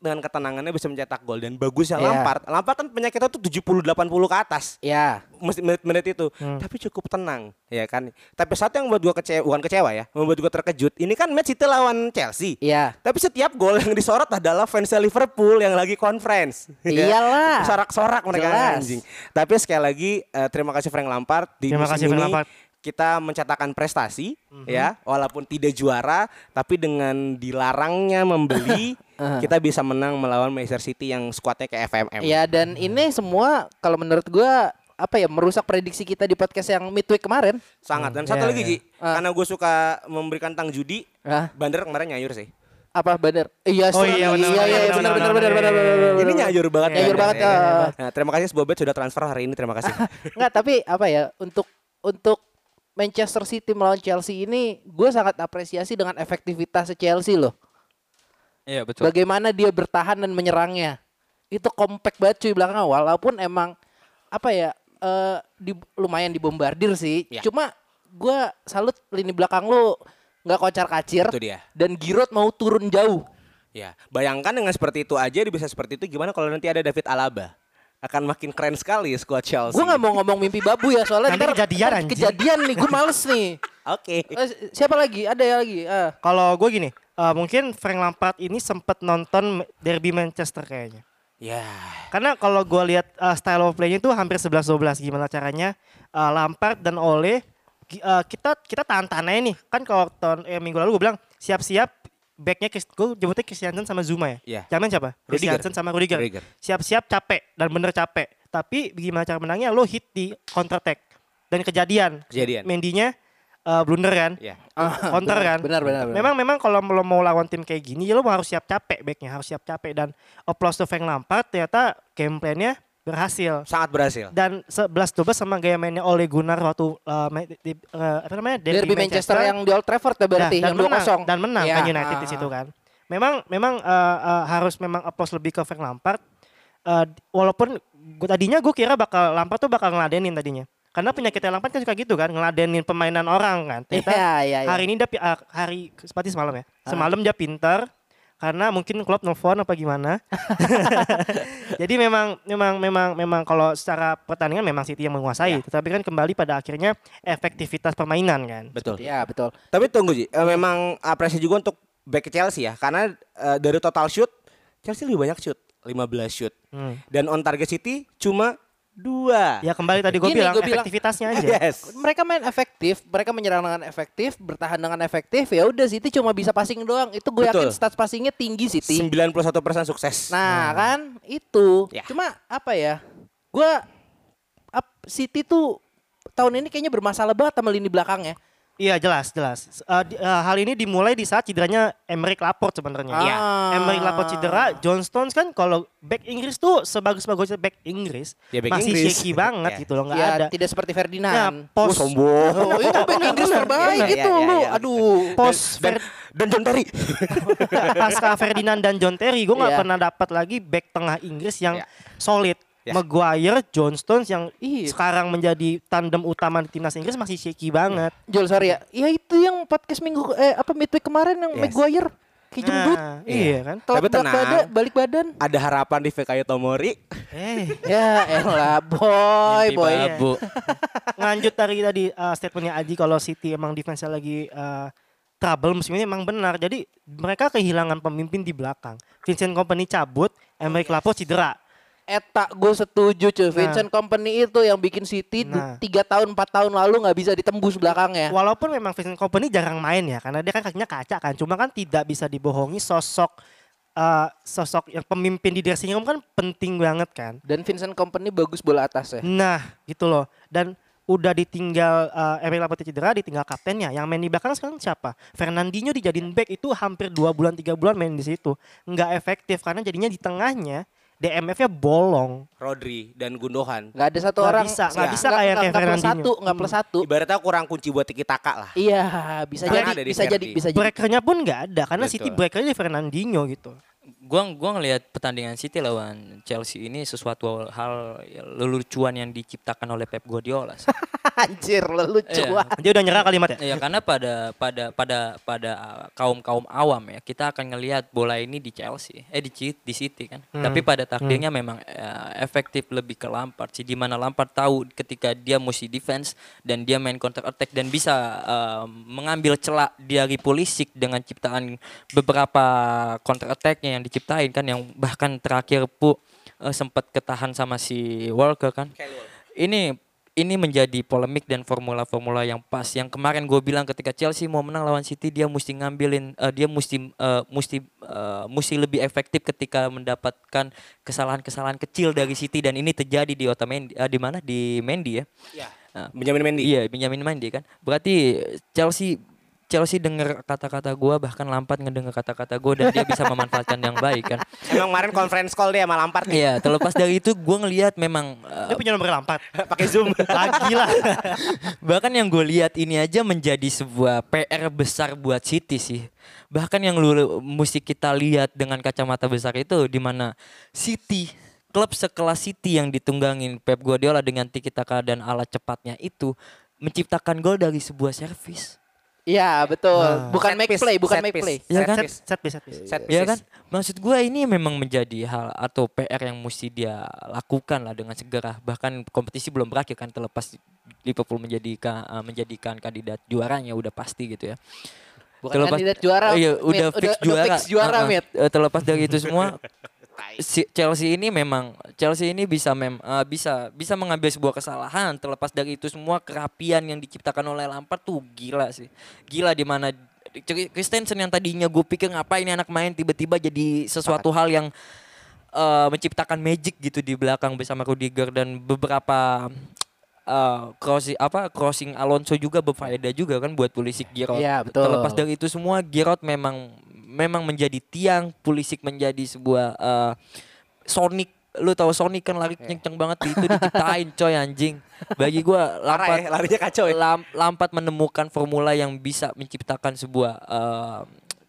Speaker 6: dengan ketenangannya bisa mencetak gol dan bagusnya
Speaker 5: Iya.
Speaker 6: Lampard. Lampard kan penyakitnya tuh 70 80 ke atas.
Speaker 5: Ya.
Speaker 6: mes- menit-menit itu
Speaker 4: Hmm.
Speaker 6: tapi cukup tenang ya kan tapi satu yang membuat gua kecewa bukan kecewa ya membuat gua terkejut ini kan match itu lawan Chelsea
Speaker 5: Iya.
Speaker 6: tapi setiap gol yang disorot adalah fans Liverpool yang lagi conference
Speaker 4: Iya
Speaker 6: ya.
Speaker 4: kan?
Speaker 5: Iyalah.
Speaker 6: sorak-sorak mereka
Speaker 5: Jelas.
Speaker 6: anjing tapi sekali lagi eh, terima kasih Frank Lampard di
Speaker 4: Terima
Speaker 6: musim
Speaker 4: kasih, Frank
Speaker 6: ini
Speaker 4: Lampard. Mhm.
Speaker 6: kita mencatatkan prestasi ya walaupun tidak juara tapi dengan dilarangnya membeli
Speaker 4: Eh.
Speaker 6: kita bisa menang melawan Manchester City yang skuadnya kayak FMM
Speaker 4: Iya,
Speaker 5: Ya dan ini semua kalau menurut gue apa ya merusak prediksi kita di podcast yang midweek kemarin.
Speaker 6: Sangat.
Speaker 5: Hmm,
Speaker 6: Dan satu
Speaker 4: Iya,
Speaker 5: ya,
Speaker 6: lagi
Speaker 4: iya.
Speaker 6: Ji, karena gue suka memberikan tang judi,
Speaker 5: Ah. Ya,
Speaker 6: Bandar kemarin nyayur sih.
Speaker 5: Apa benar? Iya,
Speaker 4: Oh,
Speaker 5: sel-
Speaker 4: iya, benar,
Speaker 5: iya, iya,
Speaker 4: benar,
Speaker 5: benar,
Speaker 4: benar,
Speaker 5: benar, benar,
Speaker 4: benar,
Speaker 5: benar,
Speaker 4: benar,
Speaker 5: benar,
Speaker 6: Ini
Speaker 5: benar.
Speaker 6: nyayur banget.
Speaker 5: Nyayur
Speaker 6: Bandar,
Speaker 5: banget,
Speaker 6: ya kan?
Speaker 5: ah.
Speaker 6: Nah, terima kasih Bobet sudah transfer hari ini, terima kasih.
Speaker 5: Enggak, tapi apa ya untuk untuk Manchester City melawan Chelsea ini gue sangat apresiasi dengan efektivitas Chelsea loh.
Speaker 7: Iya betul.
Speaker 5: Bagaimana dia bertahan dan menyerangnya. Itu kompak banget cuy belakang walaupun emang apa ya eh, di, lumayan dibombardir sih.
Speaker 6: Ya.
Speaker 5: Cuma gue salut lini belakang lu nggak kocar kacir
Speaker 6: Itu dia.
Speaker 5: dan Giroud mau turun jauh.
Speaker 6: ya, bayangkan dengan seperti itu aja dia bisa seperti itu gimana kalau nanti ada David Alaba? Akan makin keren sekali squad Chelsea.
Speaker 5: Gue nggak mau ngomong mimpi babu ya soalnya
Speaker 4: Nanti kejadian, anjing.
Speaker 5: kejadian nih gue males nih.
Speaker 6: Oke.
Speaker 5: Eh, siapa lagi? Ada ya lagi? Ah.
Speaker 4: Kalau gue gini, eh, mungkin Frank Lampard ini sempat nonton derby Manchester kayaknya.
Speaker 6: Ya.
Speaker 4: Karena kalau gue lihat uh, style of play-nya itu hampir 11-12 gimana caranya uh, Lampard dan Ole gi- uh, kita kita tahan tahan aja nih. Kan kalau tahun eh, minggu lalu gue bilang siap-siap backnya gue jemputnya Christiansen sama Zuma ya.
Speaker 6: Iya.
Speaker 4: Jaman siapa?
Speaker 6: Rudiger.
Speaker 4: Christiansen sama Rudiger.
Speaker 6: Rudiger.
Speaker 4: Siap-siap capek dan bener capek. Tapi gimana cara menangnya? Lo hit di counter attack dan kejadian.
Speaker 6: Kejadian.
Speaker 4: Mendinya uh, blunder kan?
Speaker 6: Ya.
Speaker 4: counter kan.
Speaker 5: Ah, benar, benar, benar.
Speaker 4: Memang memang kalau lo mau lawan tim kayak gini ya lo harus siap capek backnya harus siap capek dan applause to Frank Lampard ternyata game plan-nya berhasil.
Speaker 6: Sangat berhasil.
Speaker 4: Dan 11-12 sama gaya mainnya oleh Gunnar waktu uh, ma- di, uh, apa namanya
Speaker 5: Derby, Manchester, yang di Old Trafford ya berarti
Speaker 4: Nah, dan
Speaker 5: yang
Speaker 4: menang,
Speaker 5: 2-0.
Speaker 4: dan menang
Speaker 5: Ya,
Speaker 4: kan United di
Speaker 5: ah.
Speaker 4: situ kan. Memang memang uh, uh, harus memang applause lebih ke Frank Lampard. Uh, walaupun gua, tadinya gue kira bakal Lampard tuh bakal ngeladenin tadinya. Karena penyakitnya Lampard kan suka gitu kan, ngeladenin permainan orang kan. Ternyata
Speaker 5: Iya, iya, iya.
Speaker 4: hari ini dia pi- ah, hari seperti semalam ya. Semalam dia pintar karena mungkin klub nelfon apa gimana. Jadi memang memang memang memang kalau secara pertandingan memang City yang menguasai, tetapi kan kembali pada akhirnya efektivitas permainan kan.
Speaker 6: Betul.
Speaker 5: Ya, betul.
Speaker 6: Tapi tunggu Ji, Eh, memang apresiasi juga untuk back Chelsea ya karena eh, dari total shoot Chelsea lebih banyak shoot, 15 shoot.
Speaker 4: Hmm.
Speaker 6: Dan on target City cuma dua.
Speaker 4: Ya kembali tadi gue
Speaker 5: Gini,
Speaker 4: bilang
Speaker 5: gua bilang-
Speaker 4: efektivitasnya aja.
Speaker 6: Yes.
Speaker 5: Mereka main efektif, mereka menyerang dengan efektif, bertahan dengan efektif. Ya udah City cuma bisa passing doang. Itu gue yakin
Speaker 6: Betul.
Speaker 5: stats passingnya tinggi City.
Speaker 6: 91% sukses.
Speaker 5: Nah, kan itu.
Speaker 6: Ya.
Speaker 5: Cuma apa ya? Gue ap- City tuh tahun ini kayaknya bermasalah banget sama lini belakangnya.
Speaker 4: Iya jelas jelas. S- uh, di- uh, hal ini dimulai di saat cederanya Emerick Laporte sebenarnya.
Speaker 5: Iya. Ah.
Speaker 4: Emerick Laporte cedera, John Stones kan kalau back Inggris tuh sebagus-bagusnya back Inggris
Speaker 6: Ya, back
Speaker 4: masih
Speaker 6: Inggris.
Speaker 4: shaky banget
Speaker 6: Ya.
Speaker 4: gitu loh nggak
Speaker 5: ya,
Speaker 4: ada.
Speaker 5: tidak seperti
Speaker 4: Nah,
Speaker 5: Ferdinand.
Speaker 4: pos
Speaker 5: Oh, itu band Inggris terbaik
Speaker 6: Iya,
Speaker 5: itu
Speaker 6: iya,
Speaker 5: lu.
Speaker 6: iya.
Speaker 5: Aduh.
Speaker 4: pos
Speaker 6: dan,
Speaker 4: Fer-
Speaker 6: dan John Terry.
Speaker 4: pasca Ferdinand dan John Terry gue nggak
Speaker 5: Iya.
Speaker 4: pernah dapat lagi back tengah Inggris yang
Speaker 6: Iya.
Speaker 4: solid.
Speaker 6: Iya.
Speaker 4: Maguire, John Stones yang
Speaker 5: Iya.
Speaker 4: sekarang menjadi tandem utama di timnas Inggris masih shaky banget.
Speaker 5: Jol sorry ya. Ya itu yang podcast minggu eh apa midweek kemarin yang
Speaker 6: Yes. Ah.
Speaker 5: Maguire kayak jembut.
Speaker 4: Nah, iya kan.
Speaker 5: Telat
Speaker 6: Tapi
Speaker 5: belak
Speaker 6: tenang.
Speaker 5: badan- balik badan.
Speaker 6: Ada harapan di VKI Tomori.
Speaker 4: Eh.
Speaker 5: Ya elah boy ya.
Speaker 7: Mimpi
Speaker 5: boy.
Speaker 7: babu.
Speaker 4: lanjut dari tadi uh, statementnya Aji kalau City emang defense lagi uh, trouble musim ini emang benar. Jadi mereka kehilangan pemimpin di belakang. Vincent Kompany cabut, Emerick Laporte cedera.
Speaker 5: Eta gue setuju cuy Vincent Company itu yang bikin City
Speaker 4: Nah.
Speaker 5: 3 tahun 4 tahun lalu nggak bisa ditembus ya.
Speaker 6: Iya.
Speaker 5: belakangnya
Speaker 4: Walaupun memang Vincent Kompany jarang main ya karena dia kan kakinya kaca kan. Cuma kan tidak bisa dibohongi sosok uh, sosok yang pemimpin di dressing room kan penting banget kan.
Speaker 6: Iya.
Speaker 4: Hmm.
Speaker 5: Dan Vincent Company bagus bola atas ya
Speaker 4: Nah, gitu loh. Dan udah ditinggal eh, Emeril Laporte cedera, ditinggal kaptennya. Yang main di belakang sekarang siapa? Fernandinho dijadiin back itu hampir 2 bulan 3 bulan main di situ. Nggak efektif karena jadinya di tengahnya DMF-nya bolong.
Speaker 6: Rodri dan Gundohan.
Speaker 5: Nggak ada satu
Speaker 4: Nggak
Speaker 5: orang. Iya.
Speaker 4: bisa, nggak
Speaker 5: nggak-
Speaker 4: bisa
Speaker 5: nggak-
Speaker 4: kayak
Speaker 5: nggak-
Speaker 4: kayak
Speaker 5: nggak plus
Speaker 4: Fernandinho.
Speaker 5: satu, nggak plus satu.
Speaker 6: Ibaratnya kurang kunci buat Tiki Taka lah.
Speaker 5: Iya, bisa
Speaker 6: Karena
Speaker 5: jadi,
Speaker 6: ada di
Speaker 5: bisa jadi,
Speaker 6: Verdi.
Speaker 5: bisa jadi.
Speaker 4: Breakernya pun nggak ada karena
Speaker 6: Betul.
Speaker 4: City breakernya di Fernandinho gitu.
Speaker 7: Gua gua ngelihat pertandingan City lawan Chelsea ini sesuatu hal ya, lelucuan yang diciptakan oleh Pep Guardiola. sih.
Speaker 5: Anjir, lu lucu.
Speaker 7: Iya.
Speaker 5: wah.
Speaker 4: Dia udah nyerah kalimat
Speaker 6: Iya.
Speaker 4: ya?
Speaker 7: ya karena pada pada pada pada kaum kaum awam ya kita akan ngelihat bola ini di Chelsea eh di Ci- di City kan tapi pada taktiknya memang eh, efektif lebih ke Lampard sih di mana Lampard tahu ketika dia mesti defense dan dia main counter attack dan bisa eh, mengambil celak dari Pulisic dengan ciptaan beberapa counter attacknya yang diciptain kan yang bahkan terakhir pu eh, sempat ketahan sama si Walker kan ini ini menjadi polemik dan formula-formula yang pas yang kemarin gue bilang ketika Chelsea mau menang lawan City dia mesti ngambilin eh, dia mesti eh, mesti eh, mesti lebih efektif ketika mendapatkan kesalahan-kesalahan kecil dari City dan ini terjadi di Otamendi eh, di mana di Mendy ya Nah,
Speaker 6: Benjamin Mendy.
Speaker 7: Iya, Benjamin Mendy kan. Berarti Chelsea Chelsea dengar kata-kata gua bahkan Lampard ngedengar kata-kata gua dan dia bisa memanfaatkan yang baik kan.
Speaker 6: Emang kemarin conference call dia sama Lampard nih.
Speaker 7: Iya, terlepas dari itu gua ngelihat memang eh,
Speaker 4: Dia punya nomor Lampard.
Speaker 6: Pakai Zoom.
Speaker 4: Lagi lah.
Speaker 7: Bahkan yang gue lihat ini aja menjadi sebuah PR besar buat City sih. Bahkan yang lu mesti kita lihat dengan kacamata besar itu di mana City klub sekelas City yang ditunggangin Pep Guardiola dengan tiki taka dan alat cepatnya itu menciptakan gol dari sebuah servis.
Speaker 5: Iya, betul.
Speaker 4: Nah.
Speaker 5: Bukan
Speaker 6: Set
Speaker 5: make
Speaker 6: piece,
Speaker 5: play, bukan
Speaker 6: set
Speaker 5: make
Speaker 6: piece.
Speaker 5: play.
Speaker 7: Iya
Speaker 6: Set
Speaker 7: kan?
Speaker 6: piece.
Speaker 4: Set piece, set piece.
Speaker 6: Set
Speaker 7: Ya
Speaker 6: pieces.
Speaker 7: kan? Maksud gue ini memang menjadi hal atau PR yang mesti dia lakukan lah dengan segera. Bahkan kompetisi belum berakhir kan terlepas Liverpool menjadikan eh, menjadikan kandidat juaranya udah pasti gitu ya.
Speaker 5: Bukan kandidat juara,
Speaker 7: Iya,
Speaker 5: Mit.
Speaker 7: udah
Speaker 5: Udah-
Speaker 7: fix
Speaker 5: udah
Speaker 7: juara.
Speaker 5: fix juara,
Speaker 7: Heeh.
Speaker 5: Mit.
Speaker 7: Eh, terlepas dari itu semua si- Chelsea ini memang Chelsea ini bisa mem eh, bisa bisa mengambil sebuah kesalahan terlepas dari itu semua kerapian yang diciptakan oleh Lampard tuh gila sih. Gila di mana Cri- Christensen yang tadinya gue pikir ngapain ini anak main tiba-tiba jadi sesuatu hal yang eh, menciptakan magic gitu di belakang bersama Rudiger dan beberapa eh, crossing apa crossing Alonso juga berfaedah juga kan buat Pulisic Giroud.
Speaker 5: Iya, betul.
Speaker 7: Terlepas dari itu semua Giroud memang memang menjadi tiang, Pulisic menjadi sebuah eh, Sonic lu tahu Sonic kan lari
Speaker 6: Iya.
Speaker 7: kenceng banget itu diciptain coy anjing. Bagi gua
Speaker 6: Parah ya,
Speaker 7: Lampard
Speaker 6: larinya kacau ya.
Speaker 7: Lam- Lampard menemukan formula yang bisa menciptakan sebuah eh,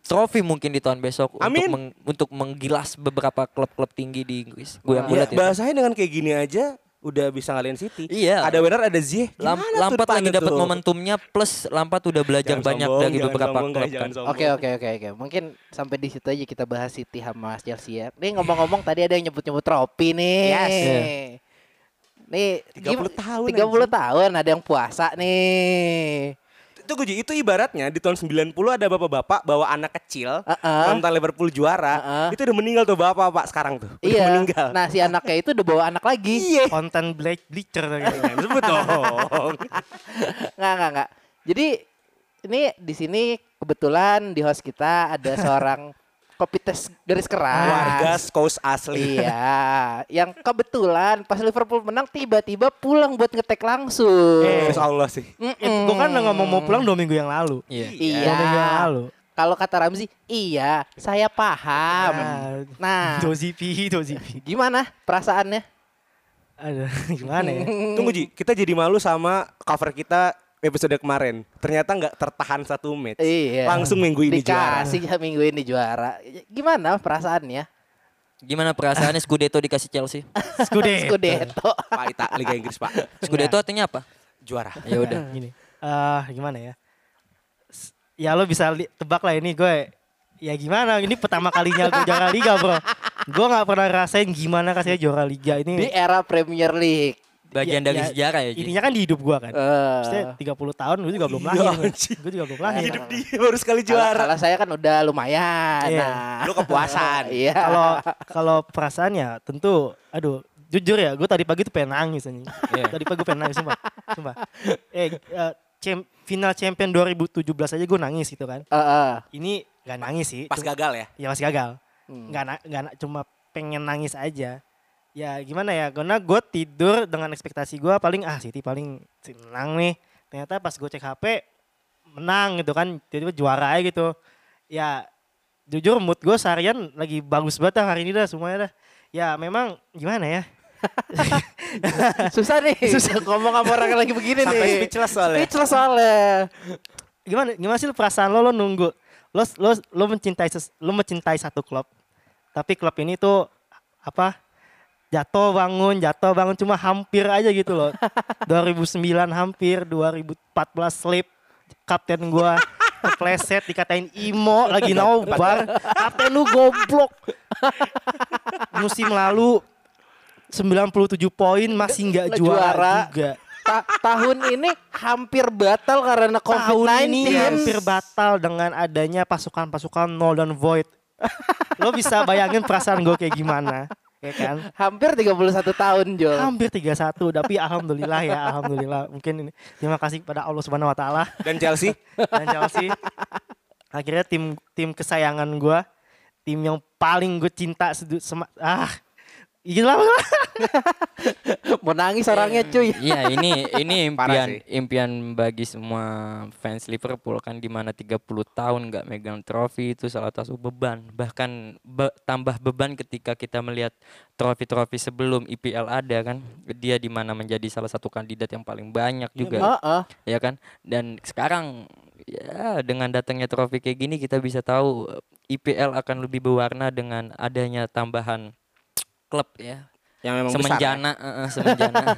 Speaker 7: trofi mungkin di tahun besok
Speaker 6: Amin.
Speaker 7: untuk meng- untuk menggilas beberapa klub-klub tinggi di Inggris. Gue yang
Speaker 6: Ya,
Speaker 7: lihat itu.
Speaker 6: bahasanya dengan kayak gini aja udah bisa ngalian City.
Speaker 7: Iya.
Speaker 6: Ada winner ada Ziyech.
Speaker 7: Lam-
Speaker 6: Gimana tuh
Speaker 7: Lampard
Speaker 6: depan
Speaker 7: lagi
Speaker 6: itu?
Speaker 7: dapat momentumnya plus Lampard udah belajar
Speaker 6: Jangan
Speaker 7: banyak
Speaker 6: sombong,
Speaker 7: dari
Speaker 6: jangan
Speaker 7: beberapa
Speaker 6: sombong,
Speaker 7: klub
Speaker 6: guys, jangan
Speaker 7: kan.
Speaker 6: sombong.
Speaker 5: Oke oke oke oke. Mungkin sampai di situ aja kita bahas City sama Chelsea ya. Nih ngomong-ngomong tadi ada yang nyebut-nyebut trofi nih.
Speaker 6: Yes.
Speaker 7: Iya.
Speaker 5: Nih
Speaker 6: 30 tahun,
Speaker 5: 30 tahun ada yang puasa nih.
Speaker 6: Itu Guji, itu ibaratnya di tahun 90 ada bapak-bapak bawa anak kecil
Speaker 5: Uh-uh.
Speaker 6: nonton Liverpool juara.
Speaker 5: Uh-uh.
Speaker 6: Itu udah meninggal tuh bapak Pak sekarang tuh. Udah
Speaker 5: iya.
Speaker 6: meninggal.
Speaker 5: Nah, si anaknya itu udah bawa anak lagi.
Speaker 6: Iya.
Speaker 4: Konten black bleacher
Speaker 7: Iya,
Speaker 4: gitu.
Speaker 6: Jangan Sebut dong.
Speaker 5: Enggak enggak enggak. Jadi ini di sini kebetulan di host kita ada seorang kopi tes garis keras.
Speaker 6: Warga Skous asli.
Speaker 5: Ah. Iya, yang kebetulan pas Liverpool menang tiba-tiba pulang buat ngetek langsung.
Speaker 6: Eh, Allah sih.
Speaker 5: Mm-mm.
Speaker 4: Gue kan udah ngomong mau pulang dua minggu yang lalu.
Speaker 7: Iya. Ah,
Speaker 5: Iya.
Speaker 4: Dua minggu yang lalu.
Speaker 5: Kalau kata Ramzi, iya, saya paham. Nah,
Speaker 4: Dozipi, Dozipi.
Speaker 5: Iya, gimana perasaannya?
Speaker 4: Aduh, gimana ya?
Speaker 5: Mm.
Speaker 6: Tunggu Ji, kita jadi malu sama cover kita episode kemarin. Ternyata nggak tertahan satu match.
Speaker 5: Iya.
Speaker 6: Langsung minggu ini juara.
Speaker 5: Dikasih ya, minggu ini juara. Gimana perasaannya?
Speaker 7: Gimana perasaannya Scudetto dikasih Chelsea?
Speaker 5: Eh,
Speaker 4: Skude.
Speaker 5: Scudetto.
Speaker 6: Pak Ita, Liga Inggris Pak. Iya.
Speaker 7: Scudetto artinya apa?
Speaker 6: Juara.
Speaker 7: Ya
Speaker 5: Iya.
Speaker 7: udah.
Speaker 4: Gini. Eh, gimana ya? S- Ya lo bisa li- tebak lah ini gue. Ya gimana? Ini pertama kalinya gue juara liga, Bro. Gue nggak pernah rasain gimana rasanya juara liga
Speaker 5: Di
Speaker 4: ini.
Speaker 5: era Premier League.
Speaker 7: Bagian
Speaker 4: Ya-
Speaker 7: dari
Speaker 4: ya,
Speaker 7: sejarah ya. Ji. Iya,
Speaker 4: Ininya kan di hidup gue kan.
Speaker 5: Eh,
Speaker 4: Maksudnya 30 tahun gue juga belum lahir. Gue juga belum lahir.
Speaker 6: Hidup dia baru sekali
Speaker 5: kalau-
Speaker 6: juara.
Speaker 5: Kalau saya kan udah lumayan.
Speaker 4: Iya.
Speaker 5: Nah,
Speaker 6: Lu kepuasan.
Speaker 5: Iya.
Speaker 4: kalau kalau perasaannya tentu aduh jujur ya gue tadi pagi tuh pengen nangis anjing. Tadi pagi gue pengen nangis sumpah. sumpah. Eh eh, cem- final champion 2017 aja gue nangis gitu kan.
Speaker 5: Eh, eh.
Speaker 4: Ini nggak nangis sih.
Speaker 6: Pas
Speaker 4: cuma-
Speaker 6: gagal ya.
Speaker 4: Ya masih gagal.
Speaker 5: Hmm.
Speaker 4: Nggak na- nggak na- cuma pengen nangis aja. ya gimana ya karena gue tidur dengan ekspektasi gue paling ah City paling menang nih ternyata pas gue cek HP menang gitu kan tiba-tiba juara aja gitu ya jujur mood gue seharian lagi bagus banget dah hari ini dah semuanya dah ya memang gimana ya
Speaker 5: Susah nih.
Speaker 4: Susah
Speaker 5: ngomong sama orang yang lagi begini nih.
Speaker 6: Sampai speechless soalnya.
Speaker 5: Speechless soalnya.
Speaker 4: gimana gimana sih lu perasaan lo lo nunggu lo lo lo mencintai ses- lo mencintai satu klub tapi klub ini tuh apa jatuh bangun jatuh bangun cuma hampir aja gitu loh 2009 hampir 2014 slip kapten gua kepleset dikatain Imo lagi nobar kapten lu goblok musim lalu 97 poin masih nggak juara,
Speaker 5: Juara.
Speaker 4: juga
Speaker 5: Ta- tahun ini hampir batal karena COVID-19.
Speaker 4: tahun ini hampir batal dengan adanya pasukan-pasukan nol dan void. Lo bisa bayangin perasaan gue kayak gimana, ya kan?
Speaker 5: Hampir 31 tahun, Jol.
Speaker 4: Hampir 31, tapi alhamdulillah ya, alhamdulillah. Mungkin ini terima kasih kepada Allah Subhanahu wa taala
Speaker 6: Dan Chelsea
Speaker 4: dan Chelsea. Akhirnya tim tim kesayangan gue, tim yang paling gue cinta sedu, sema- ah Gila
Speaker 5: Mau nangis orangnya, cuy.
Speaker 7: Iya ini ini
Speaker 6: Parah
Speaker 7: impian
Speaker 6: sih.
Speaker 7: impian bagi semua fans Liverpool kan dimana 30 tahun nggak megang trofi itu salah satu beban bahkan be- tambah beban ketika kita melihat trofi-trofi sebelum IPL ada kan dia dimana menjadi salah satu kandidat yang paling banyak
Speaker 4: Iya,
Speaker 7: juga
Speaker 5: Heeh.
Speaker 7: ya kan dan sekarang ya dengan datangnya trofi kayak gini kita bisa tahu eh, IPL akan lebih berwarna dengan adanya tambahan klub ya
Speaker 6: yang memang besar, ya.
Speaker 7: semenjana eh, eh, semenjana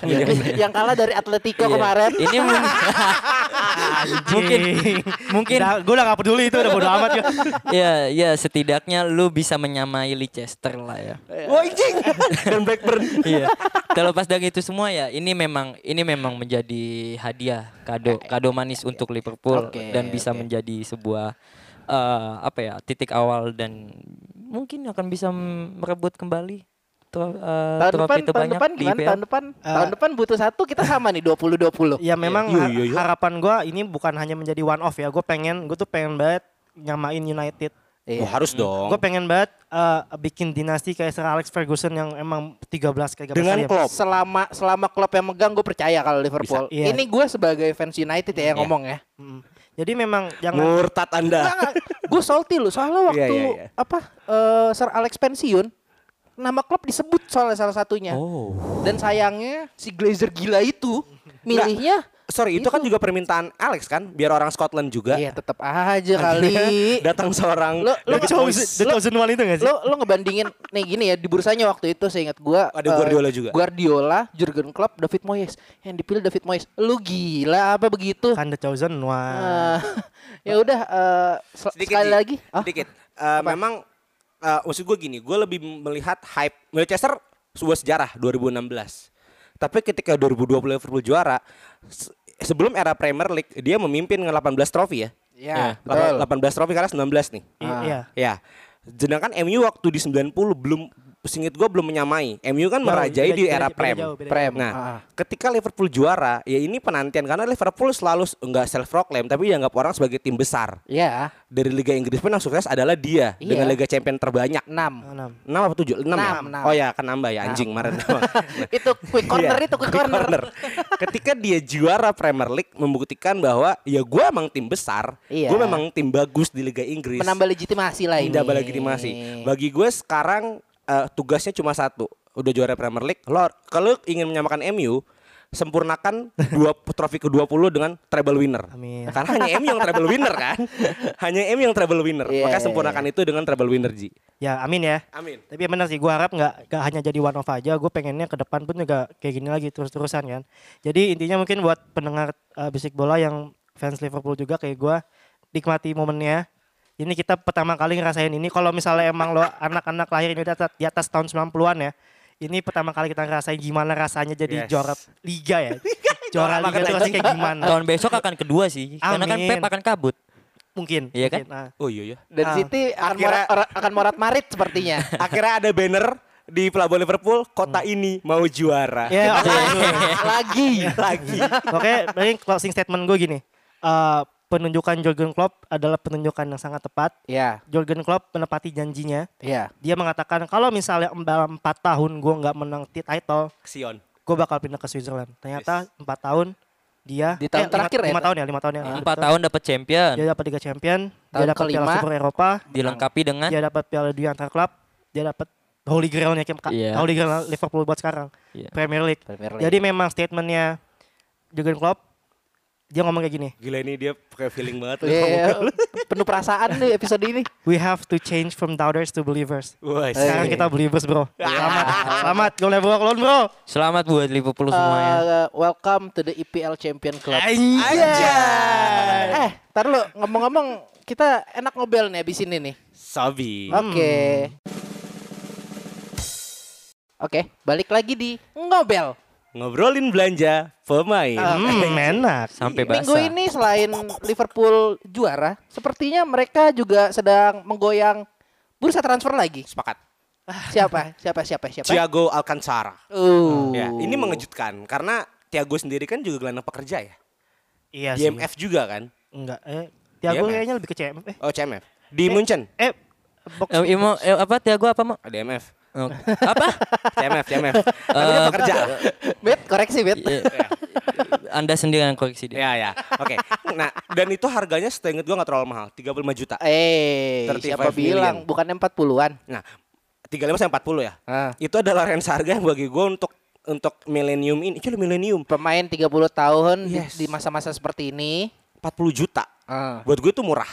Speaker 7: Semenjana.
Speaker 5: Yang kalah dari Atletico
Speaker 7: Iya.
Speaker 5: Iya, kemarin.
Speaker 7: Ini mun- mungkin mungkin
Speaker 4: Gue udah gak peduli itu Udah bodo amat ya
Speaker 7: ya ya setidaknya lu bisa menyamai Leicester lah ya.
Speaker 6: Wah, anjing. Dan Blackburn.
Speaker 7: Iya. Terlepas dari itu semua ya, ini memang ini memang menjadi hadiah kado kado manis untuk Liverpool
Speaker 5: Oke,
Speaker 7: dan bisa
Speaker 5: oke.
Speaker 7: menjadi sebuah eh, apa ya titik awal dan mungkin akan bisa merebut kembali tro- eh,
Speaker 5: Tahun depan,
Speaker 7: trofi
Speaker 5: tahun
Speaker 7: terbanyak
Speaker 5: depan
Speaker 7: di Ah.
Speaker 5: gimana?
Speaker 7: IPL.
Speaker 5: Tahun depan, tahun depan butuh satu kita sama nih 20-20.
Speaker 4: Ya memang
Speaker 6: Iya,
Speaker 4: har-
Speaker 6: iya, iya.
Speaker 4: harapan gue ini bukan hanya menjadi one off ya. Gue pengen, gue tuh pengen banget nyamain United.
Speaker 5: Iya.
Speaker 6: Wah, Oh, harus
Speaker 5: Hmm.
Speaker 6: dong.
Speaker 4: Gue pengen banget eh, bikin dinasti kayak Sir Alex Ferguson yang emang 13 kayak 13
Speaker 6: Dengan
Speaker 4: kali ya.
Speaker 6: Klopp.
Speaker 5: Selama selama klub yang megang gue percaya kalau Liverpool.
Speaker 4: Iya.
Speaker 5: Ini gue sebagai fans United ya
Speaker 7: Iya.
Speaker 5: yang ngomong ya.
Speaker 4: Mm. Jadi memang jangan
Speaker 6: Murtad Anda.
Speaker 5: gue salty loh soalnya waktu
Speaker 6: Iya, iya, iya.
Speaker 5: apa eh, Sir Alex pensiun nama klub disebut soalnya salah satunya
Speaker 7: Oh.
Speaker 5: dan sayangnya si Glazer gila itu milihnya
Speaker 6: Sorry, itu kan juga permintaan Alex kan, biar orang Scotland juga.
Speaker 5: Gitu. iya tetap aja kali
Speaker 6: Datang seorang
Speaker 5: Lo- lo-
Speaker 6: The Chosen.
Speaker 4: The Chosen One itu gak sih?
Speaker 5: lo lo ngebandingin nih gini ya di bursanya waktu itu saya ingat gue
Speaker 6: Ada Guardiola juga.
Speaker 5: Guardiola Jurgen Klopp David Moyes yang dipilih David Moyes lu gila apa begitu
Speaker 4: Kan The Chosen One.
Speaker 5: Eh, ya udah eh, sel-
Speaker 6: sedikit
Speaker 5: sekali
Speaker 6: Ji.
Speaker 5: lagi Ah,
Speaker 6: sedikit Eh, memang eh, maksud gue gini gue lebih melihat hype Manchester sebuah sejarah 2016 tapi ketika 2020 Liverpool juara se- sebelum era Premier League dia memimpin dengan 18 trofi ya
Speaker 5: Ya, betul.
Speaker 6: 18 trofi karena 19 nih
Speaker 4: I- Iya.
Speaker 6: ya sedangkan MU waktu di 90 belum singkat gue belum menyamai MU kan
Speaker 4: Jauh, beda-
Speaker 6: merajai di
Speaker 4: beda-
Speaker 6: era
Speaker 4: beda
Speaker 6: Prem
Speaker 4: jauh, beda
Speaker 5: Prem
Speaker 6: Nah,
Speaker 5: Ah.
Speaker 6: ketika Liverpool juara, ya ini penantian karena Liverpool selalu s- enggak self proclaim tapi dianggap orang sebagai tim besar
Speaker 5: ya
Speaker 6: dari Liga Inggris pun yang sukses adalah dia
Speaker 5: Iya.
Speaker 6: dengan Liga Champion terbanyak.
Speaker 5: Oh, enam
Speaker 4: Enam.
Speaker 6: 6 apa 7? 6, ya?
Speaker 5: Enam, enam.
Speaker 6: Oh ya, kan nambah ya anjing kemarin.
Speaker 5: itu quick corner
Speaker 6: Iya,
Speaker 5: itu quick corner
Speaker 6: Ketika dia juara Premier League membuktikan bahwa ya gue emang tim besar,
Speaker 5: Iya.
Speaker 6: gue memang tim bagus di Liga Inggris.
Speaker 5: menambah legitimasi lah ini.
Speaker 6: Menambah legitimasi. Bagi gue sekarang eh, tugasnya cuma satu. Udah juara Premier League, lo kalau lo ingin menyamakan MU sempurnakan dua trofi ke-20 dengan treble winner.
Speaker 4: Amin.
Speaker 6: Karena hanya MU yang treble winner kan. Hanya MU yang treble winner.
Speaker 5: Iya,
Speaker 6: Maka
Speaker 5: iya,
Speaker 6: sempurnakan itu dengan treble winner Ji.
Speaker 4: Ya amin ya.
Speaker 6: Amin.
Speaker 4: Tapi ya benar sih gue harap nggak nggak hanya jadi one off aja. Gue pengennya ke depan pun juga kayak gini lagi terus-terusan kan. Jadi intinya mungkin buat pendengar eh, bisik bola yang fans Liverpool juga kayak gue nikmati momennya. Ini kita pertama kali ngerasain ini. Kalau misalnya emang lo anak-anak lahir ini di atas, di atas tahun 90-an ya. Ini pertama kali kita ngerasain gimana rasanya jadi
Speaker 6: Yes.
Speaker 4: juara liga ya. juara liga itu rasanya kayak gimana.
Speaker 7: Tahun besok akan kedua sih, karena kan
Speaker 4: Amin.
Speaker 7: Pep akan kabut. Iya
Speaker 4: Mungkin.
Speaker 7: Iya kan?
Speaker 4: mungkin. Nah,
Speaker 6: Oh iya iya.
Speaker 5: Dan
Speaker 4: Ah.
Speaker 5: City akan
Speaker 6: Akhirnya-
Speaker 5: morat, ora- akan morat marit sepertinya.
Speaker 6: Akhirnya ada banner di Pelabuhan Liverpool, kota
Speaker 5: Hmm.
Speaker 6: ini mau juara.
Speaker 4: ya,
Speaker 5: Iya.
Speaker 4: oke.
Speaker 5: Lagi.
Speaker 6: Lagi.
Speaker 5: Iya
Speaker 4: Oke, paling closing statement gue gini. Eh penunjukan Jurgen Klopp adalah penunjukan yang sangat tepat.
Speaker 5: Ya,
Speaker 4: Jurgen Klopp menepati janjinya.
Speaker 5: ya.
Speaker 4: Dia mengatakan kalau misalnya em- dalam 4 tahun gue nggak menang ti- title,
Speaker 6: Sion.
Speaker 4: gue bakal pindah ke Switzerland. Ternyata empat tahun dia
Speaker 5: Di tahun
Speaker 4: lima-
Speaker 5: terakhir ya,
Speaker 4: lima
Speaker 5: Ta?
Speaker 4: tahun ya, lima tahun ya.
Speaker 7: Empat tahun dapat champion,
Speaker 4: Dia dapat Liga Champion, dia
Speaker 5: Tahun
Speaker 4: dapat Piala
Speaker 5: kelima.
Speaker 4: Super Eropa,
Speaker 7: dilengkapi dengan
Speaker 4: dia dapat Piala Dunia antar klub, dia dapat Holy Grail-nya Kim Ka-
Speaker 7: Iya.
Speaker 4: Holy Grail Liverpool buat sekarang,
Speaker 7: Iya.
Speaker 4: Premier League.
Speaker 5: Premier League.
Speaker 4: Jadi memang statementnya Jurgen Klopp dia ngomong kayak gini,
Speaker 6: Gila ini dia pakai feeling banget.
Speaker 5: Iya, iya. penuh perasaan nih episode ini.
Speaker 4: we have to change from doubters to believers.
Speaker 6: Wah,
Speaker 4: Sekarang
Speaker 7: Iya.
Speaker 5: Eh.
Speaker 4: kita believers bro. Selamat, selamat. Gol never walk alone bro.
Speaker 7: selamat buat Liverpool ya. semuanya.
Speaker 5: Uh, welcome to the EPL Champion Club.
Speaker 6: Anjay.
Speaker 5: Eh, tar lu ngomong-ngomong kita enak ngobel nih abis ini nih.
Speaker 6: Sabi.
Speaker 5: Oke. Oke, balik lagi di ngobel.
Speaker 6: Ngobrolin belanja pemain.
Speaker 5: Ah,
Speaker 4: Hmm, enak.
Speaker 7: Sampai
Speaker 5: Minggu
Speaker 7: basah.
Speaker 5: ini selain Liverpool juara, sepertinya mereka juga sedang menggoyang bursa transfer lagi.
Speaker 6: Sepakat.
Speaker 5: Eh? Siapa? Siapa? Siapa? Siapa?
Speaker 6: Thiago Alcantara.
Speaker 5: Oh.
Speaker 6: Ya, ini mengejutkan karena Thiago sendiri kan juga gelandang pekerja ya.
Speaker 4: Iya
Speaker 6: Di
Speaker 4: sih.
Speaker 6: MF juga kan.
Speaker 4: Enggak. Eh, Tiago
Speaker 6: DMF.
Speaker 4: kayaknya lebih ke CMF. Eh,
Speaker 6: Oh, CMF. Di Munchen.
Speaker 4: eh box.
Speaker 7: Eh, Imo- eh, apa Tiago apa mak?
Speaker 6: Ada MF.
Speaker 7: Oh, apa?
Speaker 6: CMF, CMF. Namanya
Speaker 7: Eh,
Speaker 6: pekerja.
Speaker 5: Bet, koreksi, Bet.
Speaker 7: Iya. Anda sendiri yang koreksi dia.
Speaker 6: ya, ya. Oke. Nah, dan itu harganya setenget gua nggak terlalu mahal, 35 juta.
Speaker 5: Eh,
Speaker 6: 35
Speaker 5: siapa bilang
Speaker 6: million.
Speaker 5: bukannya 40-an?
Speaker 6: Nah, 35 sampai 40 ya.
Speaker 5: Ah.
Speaker 6: Itu adalah range harga yang bagi gua untuk untuk milenium ini. Cuy, milenium
Speaker 5: Pemain 30 tahun di-
Speaker 6: Yes.
Speaker 5: di masa-masa seperti ini.
Speaker 6: 40 juta.
Speaker 5: Ah.
Speaker 6: Buat gue itu murah.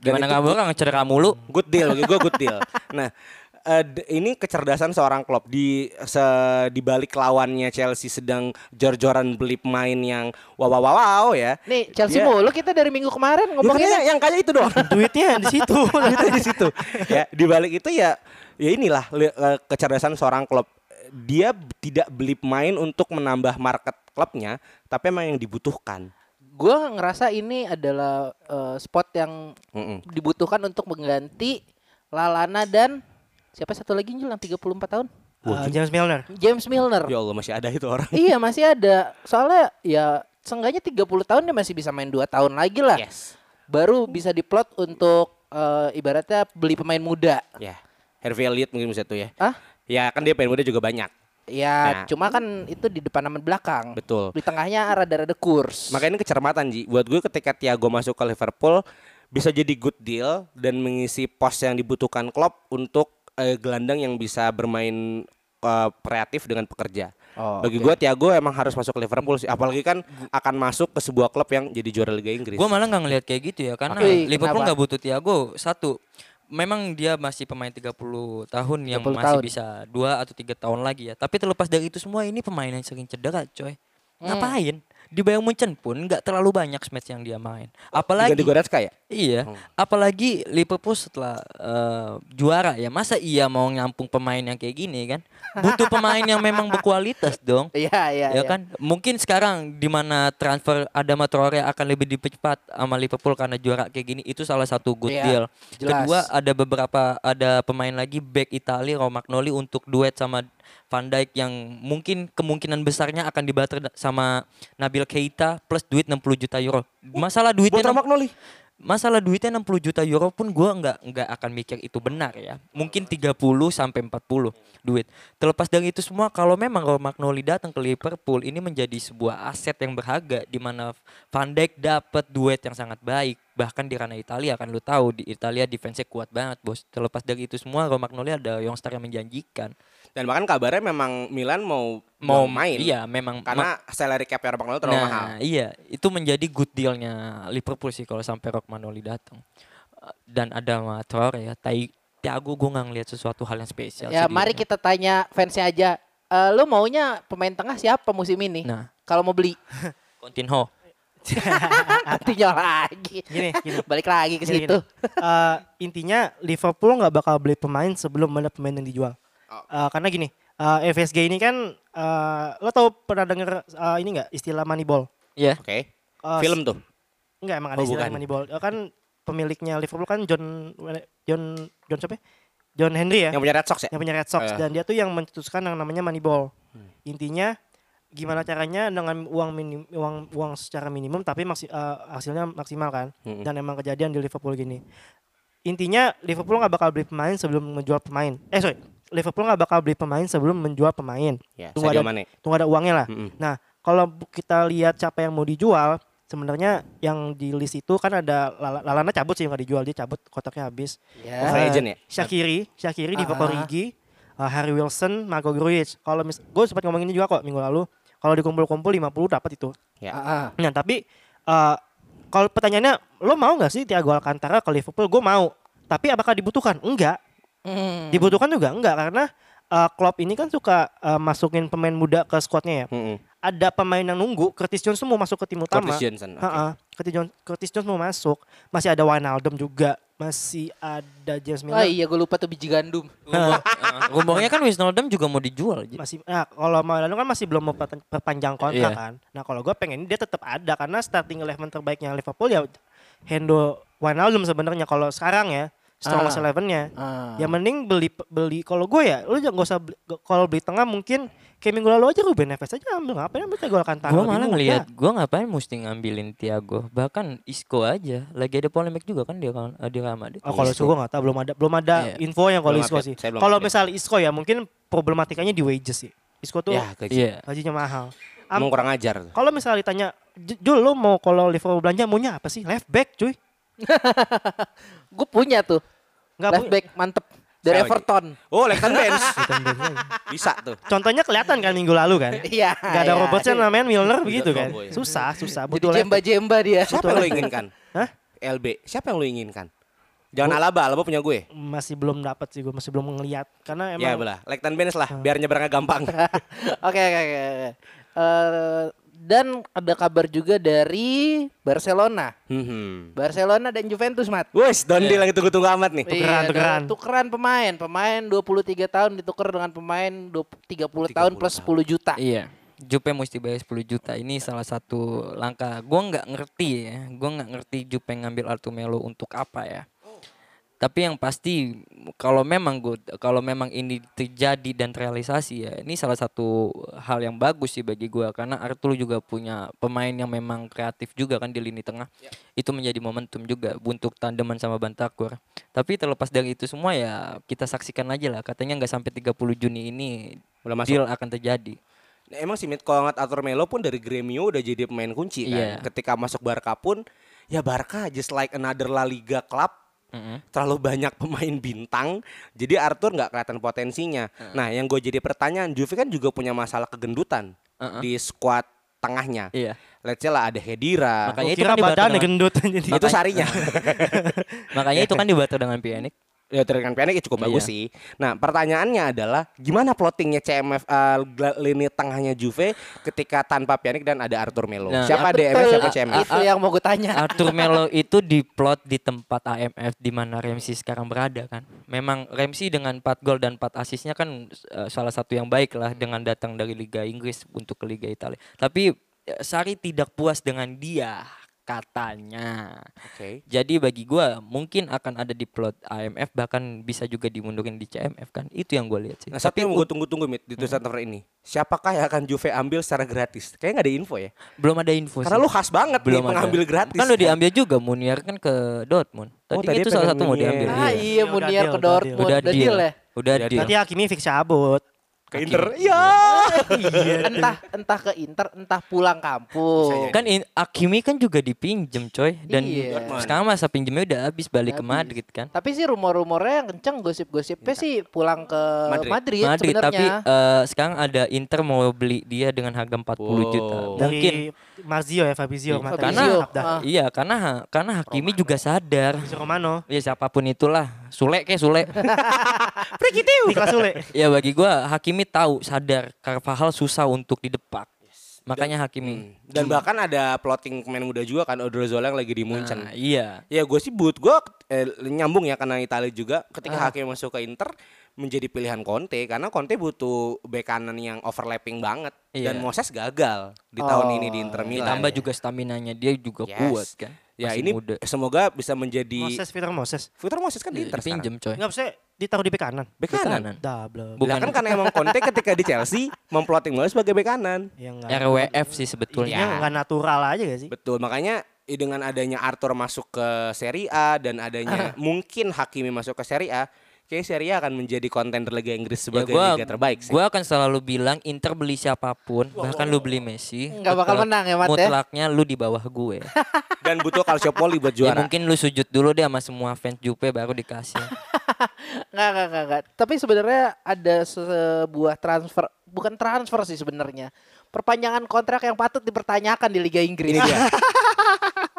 Speaker 6: Dan
Speaker 7: Gimana
Speaker 6: itu
Speaker 7: nggak orang cedera mulu?
Speaker 6: good deal bagi gue good deal. Nah, eh, d- ini kecerdasan seorang Klopp di se- di balik lawannya Chelsea sedang jor-joran beli pemain yang wow wow wow, wow ya.
Speaker 5: Nih, Chelsea
Speaker 6: Dia-
Speaker 5: mulu kita dari minggu kemarin
Speaker 6: Pokoknya
Speaker 5: ngomongin
Speaker 6: yang kayak itu doang.
Speaker 4: duitnya di situ.
Speaker 6: itu di situ. Ya, di balik itu ya ya inilah li- eh, kecerdasan seorang klub. Dia b- tidak beli pemain untuk menambah market klubnya, tapi emang yang dibutuhkan.
Speaker 5: gue ngerasa ini adalah eh, spot yang
Speaker 6: Mm-mm.
Speaker 5: dibutuhkan untuk mengganti Lalana dan siapa satu lagi Jul yang 34 tahun?
Speaker 4: Ah, James Milner.
Speaker 5: James Milner.
Speaker 6: Ya Allah masih ada itu orang.
Speaker 5: Iya, masih ada. Soalnya ya seenggaknya 30 tahun dia masih bisa main 2 tahun lagi lah.
Speaker 6: Yes.
Speaker 5: Baru bisa diplot untuk eh, ibaratnya beli pemain muda.
Speaker 6: Ya. Harvey Elliott mungkin bisa tuh ya.
Speaker 5: Ah?
Speaker 6: Ya kan dia pemain muda juga banyak.
Speaker 5: Ya,
Speaker 6: Nah.
Speaker 5: cuma kan itu di depan sama di belakang.
Speaker 6: Betul.
Speaker 5: Di tengahnya rada-rada kurs.
Speaker 6: Makanya ini kecermatan Ji. Buat gue ketika Thiago masuk ke Liverpool bisa jadi good deal dan mengisi pos yang dibutuhkan Klopp untuk eh, gelandang yang bisa bermain eh, kreatif dengan pekerja.
Speaker 5: Oh,
Speaker 6: Bagi
Speaker 5: oke.
Speaker 6: gue Thiago emang harus masuk ke Liverpool sih. Apalagi kan akan masuk ke sebuah klub yang jadi juara Liga Inggris.
Speaker 7: Gue malah nggak ngelihat kayak gitu ya karena
Speaker 5: Oke. Wih,
Speaker 7: Liverpool
Speaker 5: kenapa?
Speaker 7: nggak butuh Thiago satu. Memang dia masih pemain 30 tahun yang
Speaker 5: 30
Speaker 7: masih
Speaker 5: tahun.
Speaker 7: bisa dua atau tiga tahun lagi ya. Tapi terlepas dari itu semua ini pemain yang sering cedera, coy. Ngapain? Di Bayern Munchen pun nggak terlalu banyak match yang dia main. Apalagi
Speaker 6: Ganti Goretzka ya?
Speaker 7: Iya, apalagi Liverpool setelah eh, juara ya. Masa iya mau nyampung pemain yang kayak gini kan? Butuh pemain yang memang berkualitas dong.
Speaker 5: Iya, iya,
Speaker 7: ya kan? Mungkin sekarang di mana transfer Adama Traore akan lebih dipercepat sama Liverpool karena juara kayak gini itu salah satu good
Speaker 5: Iya,
Speaker 7: deal.
Speaker 5: jelas.
Speaker 7: Kedua ada beberapa ada pemain lagi back Italia Romagnoli untuk duet sama Van Dijk yang mungkin kemungkinan besarnya akan dibater da- sama Nabil Keita plus duit 60 juta euro. Masalah duitnya
Speaker 6: Buat
Speaker 7: enam-
Speaker 6: Romagnoli.
Speaker 7: masalah duitnya 60 juta euro pun gua nggak nggak akan mikir itu benar ya. Mungkin 30 sampai 40 duit. Terlepas dari itu semua kalau memang Romagnoli datang ke Liverpool ini menjadi sebuah aset yang berharga di mana Van Dijk dapat duet yang sangat baik bahkan di ranah Italia kan lu tahu di Italia defense kuat banget bos. Terlepas dari itu semua Romagnoli ada youngster yang menjanjikan.
Speaker 6: Dan bahkan kabarnya memang Milan mau
Speaker 7: Mau
Speaker 6: main.
Speaker 7: Iya, memang
Speaker 6: Karena salary cap Romagnoli terlalu
Speaker 7: nah,
Speaker 6: mahal.
Speaker 7: Iya, itu menjadi good dealnya Liverpool sih kalau sampai Rockmanoli datang. Eh, Dan ada sama Traore ya. Tai Thiago gue nggak ngeliat sesuatu hal yang spesial.
Speaker 5: Ya,
Speaker 7: sih di
Speaker 5: mari
Speaker 7: dia.
Speaker 5: kita tanya fansnya aja. Eh, lu maunya pemain tengah siapa musim ini?
Speaker 7: Nah.
Speaker 5: Kalau mau beli,
Speaker 7: Coutinho.
Speaker 5: artinya lagi.
Speaker 4: Gini, gini.
Speaker 5: Balik lagi ke
Speaker 4: Gini, gini.
Speaker 5: situ.
Speaker 4: Eh, intinya Liverpool nggak bakal beli pemain sebelum ada pemain yang dijual.
Speaker 6: Oh.
Speaker 4: Eh, karena gini, eh, FSG ini kan eh, lo tau pernah denger eh, ini nggak istilah Moneyball?
Speaker 7: Iya.
Speaker 6: Oke.
Speaker 4: Eh,
Speaker 6: Film tuh.
Speaker 4: Enggak emang ada
Speaker 6: Oh,
Speaker 4: istilah
Speaker 6: bukan.
Speaker 4: Moneyball. Eh, kan pemiliknya Liverpool kan John John John siapa? ya? John Henry ya.
Speaker 6: Yang punya Red Sox ya?
Speaker 4: yang punya Red Sox
Speaker 6: Ah.
Speaker 4: dan dia tuh yang mencetuskan yang namanya Moneyball. Intinya gimana caranya dengan uang minim uang uang secara minimum tapi maksi, eh, hasilnya maksimal kan
Speaker 6: Mm-mm.
Speaker 4: dan emang kejadian di Liverpool gini intinya Liverpool nggak bakal beli pemain sebelum menjual pemain eh sorry Liverpool nggak bakal beli pemain sebelum menjual pemain
Speaker 6: Ya,
Speaker 4: Tunggu
Speaker 6: Sadio
Speaker 4: ada-
Speaker 6: Mane.
Speaker 4: tunggu ada uangnya lah
Speaker 6: Mm-mm.
Speaker 4: nah kalau bu- kita lihat siapa yang mau dijual sebenarnya yang di list itu kan ada Lala- Lalana cabut sih nggak dijual dia cabut kotaknya habis
Speaker 5: Ya.
Speaker 6: Free
Speaker 4: Eh,
Speaker 6: agent ya?
Speaker 4: Shakiri, Shakiri di
Speaker 5: Ah.
Speaker 4: Rigi, eh, Harry Wilson, Marco Grujic. Kalau mis, gue sempat ngomongin ini juga kok minggu lalu. Kalau dikumpul-kumpul 50 dapat itu.
Speaker 6: Ya.
Speaker 5: Ah, ah.
Speaker 4: Nah tapi eh, kalau pertanyaannya lo mau nggak sih Thiago Alcantara ke Liverpool? Gue mau. Tapi apakah dibutuhkan? Enggak.
Speaker 5: Hmm.
Speaker 4: Dibutuhkan juga enggak karena eh, Klopp ini kan suka eh, masukin pemain muda ke skuadnya ya.
Speaker 6: Mm-mm.
Speaker 4: Ada pemain yang nunggu. Curtis Jones tuh mau masuk ke tim utama.
Speaker 6: Curtis Johnson. oke.
Speaker 4: Ha-ha. Curtis, Jones, Curtis Jones mau masuk. Masih ada Wijnaldum juga. Masih ada James
Speaker 5: Ah
Speaker 4: Miller.
Speaker 5: iya gue lupa tuh biji gandum.
Speaker 7: Rumornya kan Wisnaldum juga mau dijual. Ji.
Speaker 4: masih nah kalau mau lalu kan masih belum memperpan- perpanjang kontrak
Speaker 7: Iya.
Speaker 4: kan nah kalau gue pengen dia tetap ada karena starting eleven terbaiknya Liverpool ya Hendo Wijnaldum sebenarnya kalau sekarang ya strongest
Speaker 5: Ah.
Speaker 4: elevennya
Speaker 5: Ah.
Speaker 4: ya mending beli beli kalau gue ya lu jangan gak usah beli- kalau beli tengah mungkin kayak minggu lalu aja Ruben Neves aja ambil ngapain ambil gue akan taruh
Speaker 7: Gua malah ngelihat, gua ngapain mesti ngambilin Tiago. Bahkan Isco aja. Lagi ada polemik juga kan dia kan dia Real Madrid.
Speaker 4: Oh, kalau Isco gue gak tahu belum ada belum ada
Speaker 7: Iya.
Speaker 4: infonya kalau
Speaker 6: Belum
Speaker 4: Isco sih.
Speaker 6: update, saya belum
Speaker 4: Kalau
Speaker 6: update.
Speaker 4: misal Isco ya mungkin problematikanya di wages sih. Isco tuh
Speaker 6: Ya, gaji.
Speaker 7: Iya.
Speaker 4: gajinya mahal.
Speaker 6: Emang kurang ajar.
Speaker 4: Kalau misalnya ditanya, "J- Jul lo mau kalau Liverpool belanja maunya apa sih? Left back cuy.
Speaker 5: Gue punya tuh.
Speaker 4: Nggak
Speaker 5: left
Speaker 4: punya.
Speaker 5: back mantep dari
Speaker 6: Siapa lagi?
Speaker 5: Everton.
Speaker 6: Oh, Leighton Benz. Bisa tuh.
Speaker 4: Contohnya kelihatan kan minggu lalu kan.
Speaker 5: Iya.
Speaker 4: Gak ada
Speaker 5: iya.
Speaker 4: Robertson sama Milner
Speaker 6: Iya,
Speaker 4: begitu kan.
Speaker 6: cowboy.
Speaker 4: Susah, susah.
Speaker 5: Jadi
Speaker 4: Butuh left back.
Speaker 5: jemba-jemba dia.
Speaker 6: Siapa yang lo inginkan?
Speaker 4: Hah?
Speaker 6: LB. Siapa yang lo inginkan? Jangan Alaba, Alaba punya gue.
Speaker 4: Masih belum dapat sih gue, masih belum ngeliat.
Speaker 7: Iya,
Speaker 4: Karena
Speaker 6: Ya,
Speaker 4: emang
Speaker 6: belah. Leighton Benz lah, biar nyebrangnya gampang.
Speaker 5: Oke oke oke. oke. Eh, dan ada kabar juga dari Barcelona.
Speaker 6: Hmm.
Speaker 5: Barcelona dan Juventus, Mat.
Speaker 6: Wes, Don Deal yang tunggu-tunggu amat nih.
Speaker 5: Iya,
Speaker 4: Tukeran,
Speaker 5: ada
Speaker 4: tukeran.
Speaker 5: tukeran pemain. Pemain 23 tahun ditukar dengan pemain 20 30 tahun
Speaker 6: 30
Speaker 5: plus
Speaker 6: tahun.
Speaker 5: 10 juta.
Speaker 7: Iya. Jupe mesti bayar 10 juta. Ini salah satu langkah. Gua nggak ngerti ya. Gua nggak ngerti Jupe ngambil Artumelo untuk apa ya. Tapi yang pasti kalau memang gua kalau memang ini terjadi dan terrealisasi ya, ini salah satu hal yang bagus sih bagi gua karena Arturo juga punya pemain yang memang kreatif juga kan di lini tengah.
Speaker 6: Ya.
Speaker 7: Itu menjadi momentum juga untuk tandeman sama Bantakur. Tapi terlepas dari itu semua ya kita saksikan aja lah. Katanya nggak sampai 30 Juni ini
Speaker 6: Udah masuk.
Speaker 7: deal akan terjadi.
Speaker 6: Nah, emang si Mitkolangat Arthur Melo pun dari Gremio udah jadi pemain kunci
Speaker 7: Iya.
Speaker 6: kan. Ketika masuk Barca pun ya Barca just like another La Liga club terlalu banyak pemain bintang jadi Arthur nggak kelihatan potensinya. Nah yang gue jadi pertanyaan Juve kan juga punya masalah kegendutan
Speaker 7: Heeh.
Speaker 6: di skuad tengahnya.
Speaker 7: Iya.
Speaker 6: Let's say lah ada Hedira.
Speaker 7: Makanya
Speaker 4: gue
Speaker 7: itu
Speaker 4: kira
Speaker 7: kan di
Speaker 4: badannya
Speaker 7: Barcelona.
Speaker 4: gendut. Jadi
Speaker 6: itu sarinya.
Speaker 7: Makanya itu kan dibatalkan dengan Pjanic.
Speaker 6: ya Tirkan Pjanic cukup bagus
Speaker 7: Iya.
Speaker 6: sih. Nah pertanyaannya adalah gimana plottingnya CMF eh, gla- lini tengahnya Juve ketika tanpa Pjanic dan ada Arthur Melo.
Speaker 7: Nah, Ah,
Speaker 6: siapa
Speaker 5: Betul,
Speaker 6: DM siapa CMF?
Speaker 5: Itu yang mau
Speaker 4: Iya.
Speaker 5: gue tanya.
Speaker 7: Arthur Melo itu diplot di tempat AMF di mana Ramsey sekarang berada kan. Memang Ramsey dengan 4 gol dan 4 asisnya kan eh, salah satu yang baik lah dengan datang dari Liga Inggris untuk ke Liga Italia. Tapi eh, Sari tidak puas dengan dia katanya.
Speaker 6: Oke.
Speaker 7: Jadi bagi gua mungkin akan ada di plot AMF bahkan bisa juga dimundurin di CMF kan. Itu yang gua lihat sih.
Speaker 6: Nah, satu yang gue tunggu-tunggu Mit di tulisan transfer ini. Siapakah yang akan Juve ambil secara gratis? Kayaknya nggak ada info ya.
Speaker 7: Belum ada info
Speaker 6: Karena
Speaker 7: Oh, sih.
Speaker 6: lu khas banget
Speaker 7: belum
Speaker 6: nih pengambil
Speaker 7: ada.
Speaker 6: gratis.
Speaker 7: Kan udah diambil juga Munier kan ke Dortmund.
Speaker 6: Oh,
Speaker 7: Tadi,
Speaker 6: tadi
Speaker 7: itu salah
Speaker 6: pengen
Speaker 7: satu mau
Speaker 6: Munier.
Speaker 7: diambil.
Speaker 5: Ah
Speaker 7: iya.
Speaker 5: iya,
Speaker 4: Udah
Speaker 5: Munier
Speaker 4: deal,
Speaker 5: ke
Speaker 4: udah
Speaker 5: Dortmund.
Speaker 7: Udah
Speaker 5: Udah
Speaker 7: deal.
Speaker 5: deal ya?
Speaker 7: Udah
Speaker 6: Udah
Speaker 7: deal.
Speaker 4: Nanti Hakimi fix cabut.
Speaker 6: ke Inter. Iya.
Speaker 5: Entah entah ke Inter, entah pulang kampung.
Speaker 7: Kan in, Akimi kan juga dipinjem coy dan
Speaker 5: Iya.
Speaker 7: sekarang masa pinjemnya udah habis balik ke
Speaker 5: Habis.
Speaker 7: Madrid kan.
Speaker 5: Tapi sih rumor-rumornya yang kenceng gosip-gosipnya sih pulang ke
Speaker 6: Madrid.
Speaker 5: Madrid,
Speaker 7: Madrid tapi
Speaker 5: sebenarnya.
Speaker 7: eh, sekarang ada Inter mau beli dia dengan harga 40 juta.
Speaker 6: Wow.
Speaker 7: Mungkin
Speaker 5: Iya.
Speaker 4: Dari Marzio ya Fabrizio.
Speaker 7: Iya,
Speaker 4: kemarin.
Speaker 7: Fabrizio.
Speaker 4: Sabda.
Speaker 5: Ah.
Speaker 7: iya karena ha- karena Hakimi juga sadar.
Speaker 4: Fabrizio Romano.
Speaker 7: Ya siapapun itulah, Sule kayak Sule.
Speaker 4: Niklas Sule.
Speaker 7: ya bagi gua Hakimi tahu sadar Carvajal susah untuk didepak. Makanya Hakimi.
Speaker 6: Dan bahkan ada plotting pemain muda juga kan Odriozola yang lagi di
Speaker 7: Nah,
Speaker 6: Munchen.
Speaker 7: iya. Ah.
Speaker 6: Ya gue sih but gue eh, nyambung ya karena Italia juga ketika Hakim masuk ke Inter menjadi pilihan Conte karena Conte butuh bek kanan yang overlapping banget
Speaker 7: Iya.
Speaker 6: dan Moses gagal di tahun ini di Inter Milan.
Speaker 7: Ditambah juga staminanya dia juga
Speaker 6: Yes.
Speaker 7: kuat kan.
Speaker 6: Ya
Speaker 7: Masih
Speaker 6: ini
Speaker 7: muda. Iya,
Speaker 6: semoga bisa menjadi
Speaker 4: Moses, Peter Moses.
Speaker 6: Victor Moses kan di Inter sekarang.
Speaker 7: Pinjem coy.
Speaker 4: Enggak bisa ditaruh di bek kanan.
Speaker 6: Bek kanan.
Speaker 4: Dah, belum.
Speaker 7: Bukan.
Speaker 6: Lah kan karena emang Conte ketika di Chelsea memploting Moses sebagai bek kanan.
Speaker 4: Ya, enggak.
Speaker 7: RWF sih
Speaker 6: Iya.
Speaker 4: Ininya
Speaker 7: sebetulnya.
Speaker 4: enggak natural aja gak sih?
Speaker 6: Betul, makanya i- dengan adanya Arthur masuk ke Serie A dan adanya mungkin Hakimi masuk ke Serie A, kayak Serie A akan menjadi kontender Liga Inggris
Speaker 7: Ya
Speaker 6: sebagai
Speaker 7: gua,
Speaker 6: liga terbaik sih.
Speaker 7: gua akan selalu bilang Inter beli siapapun, bahkan lu beli Messi,
Speaker 5: Nggak bakal
Speaker 7: mutlak-
Speaker 5: menang ya, Mat, ya?
Speaker 7: Mutlaknya lu di bawah gue.
Speaker 6: Dan butuh Calciopoli buat
Speaker 7: ya
Speaker 6: juara.
Speaker 7: mungkin lu sujud dulu deh sama semua fans Juve baru dikasih.
Speaker 5: Enggak, enggak, enggak, enggak. Tapi sebenarnya ada sebuah transfer, bukan transfer sih sebenarnya. Perpanjangan kontrak yang patut dipertanyakan di Liga Inggris.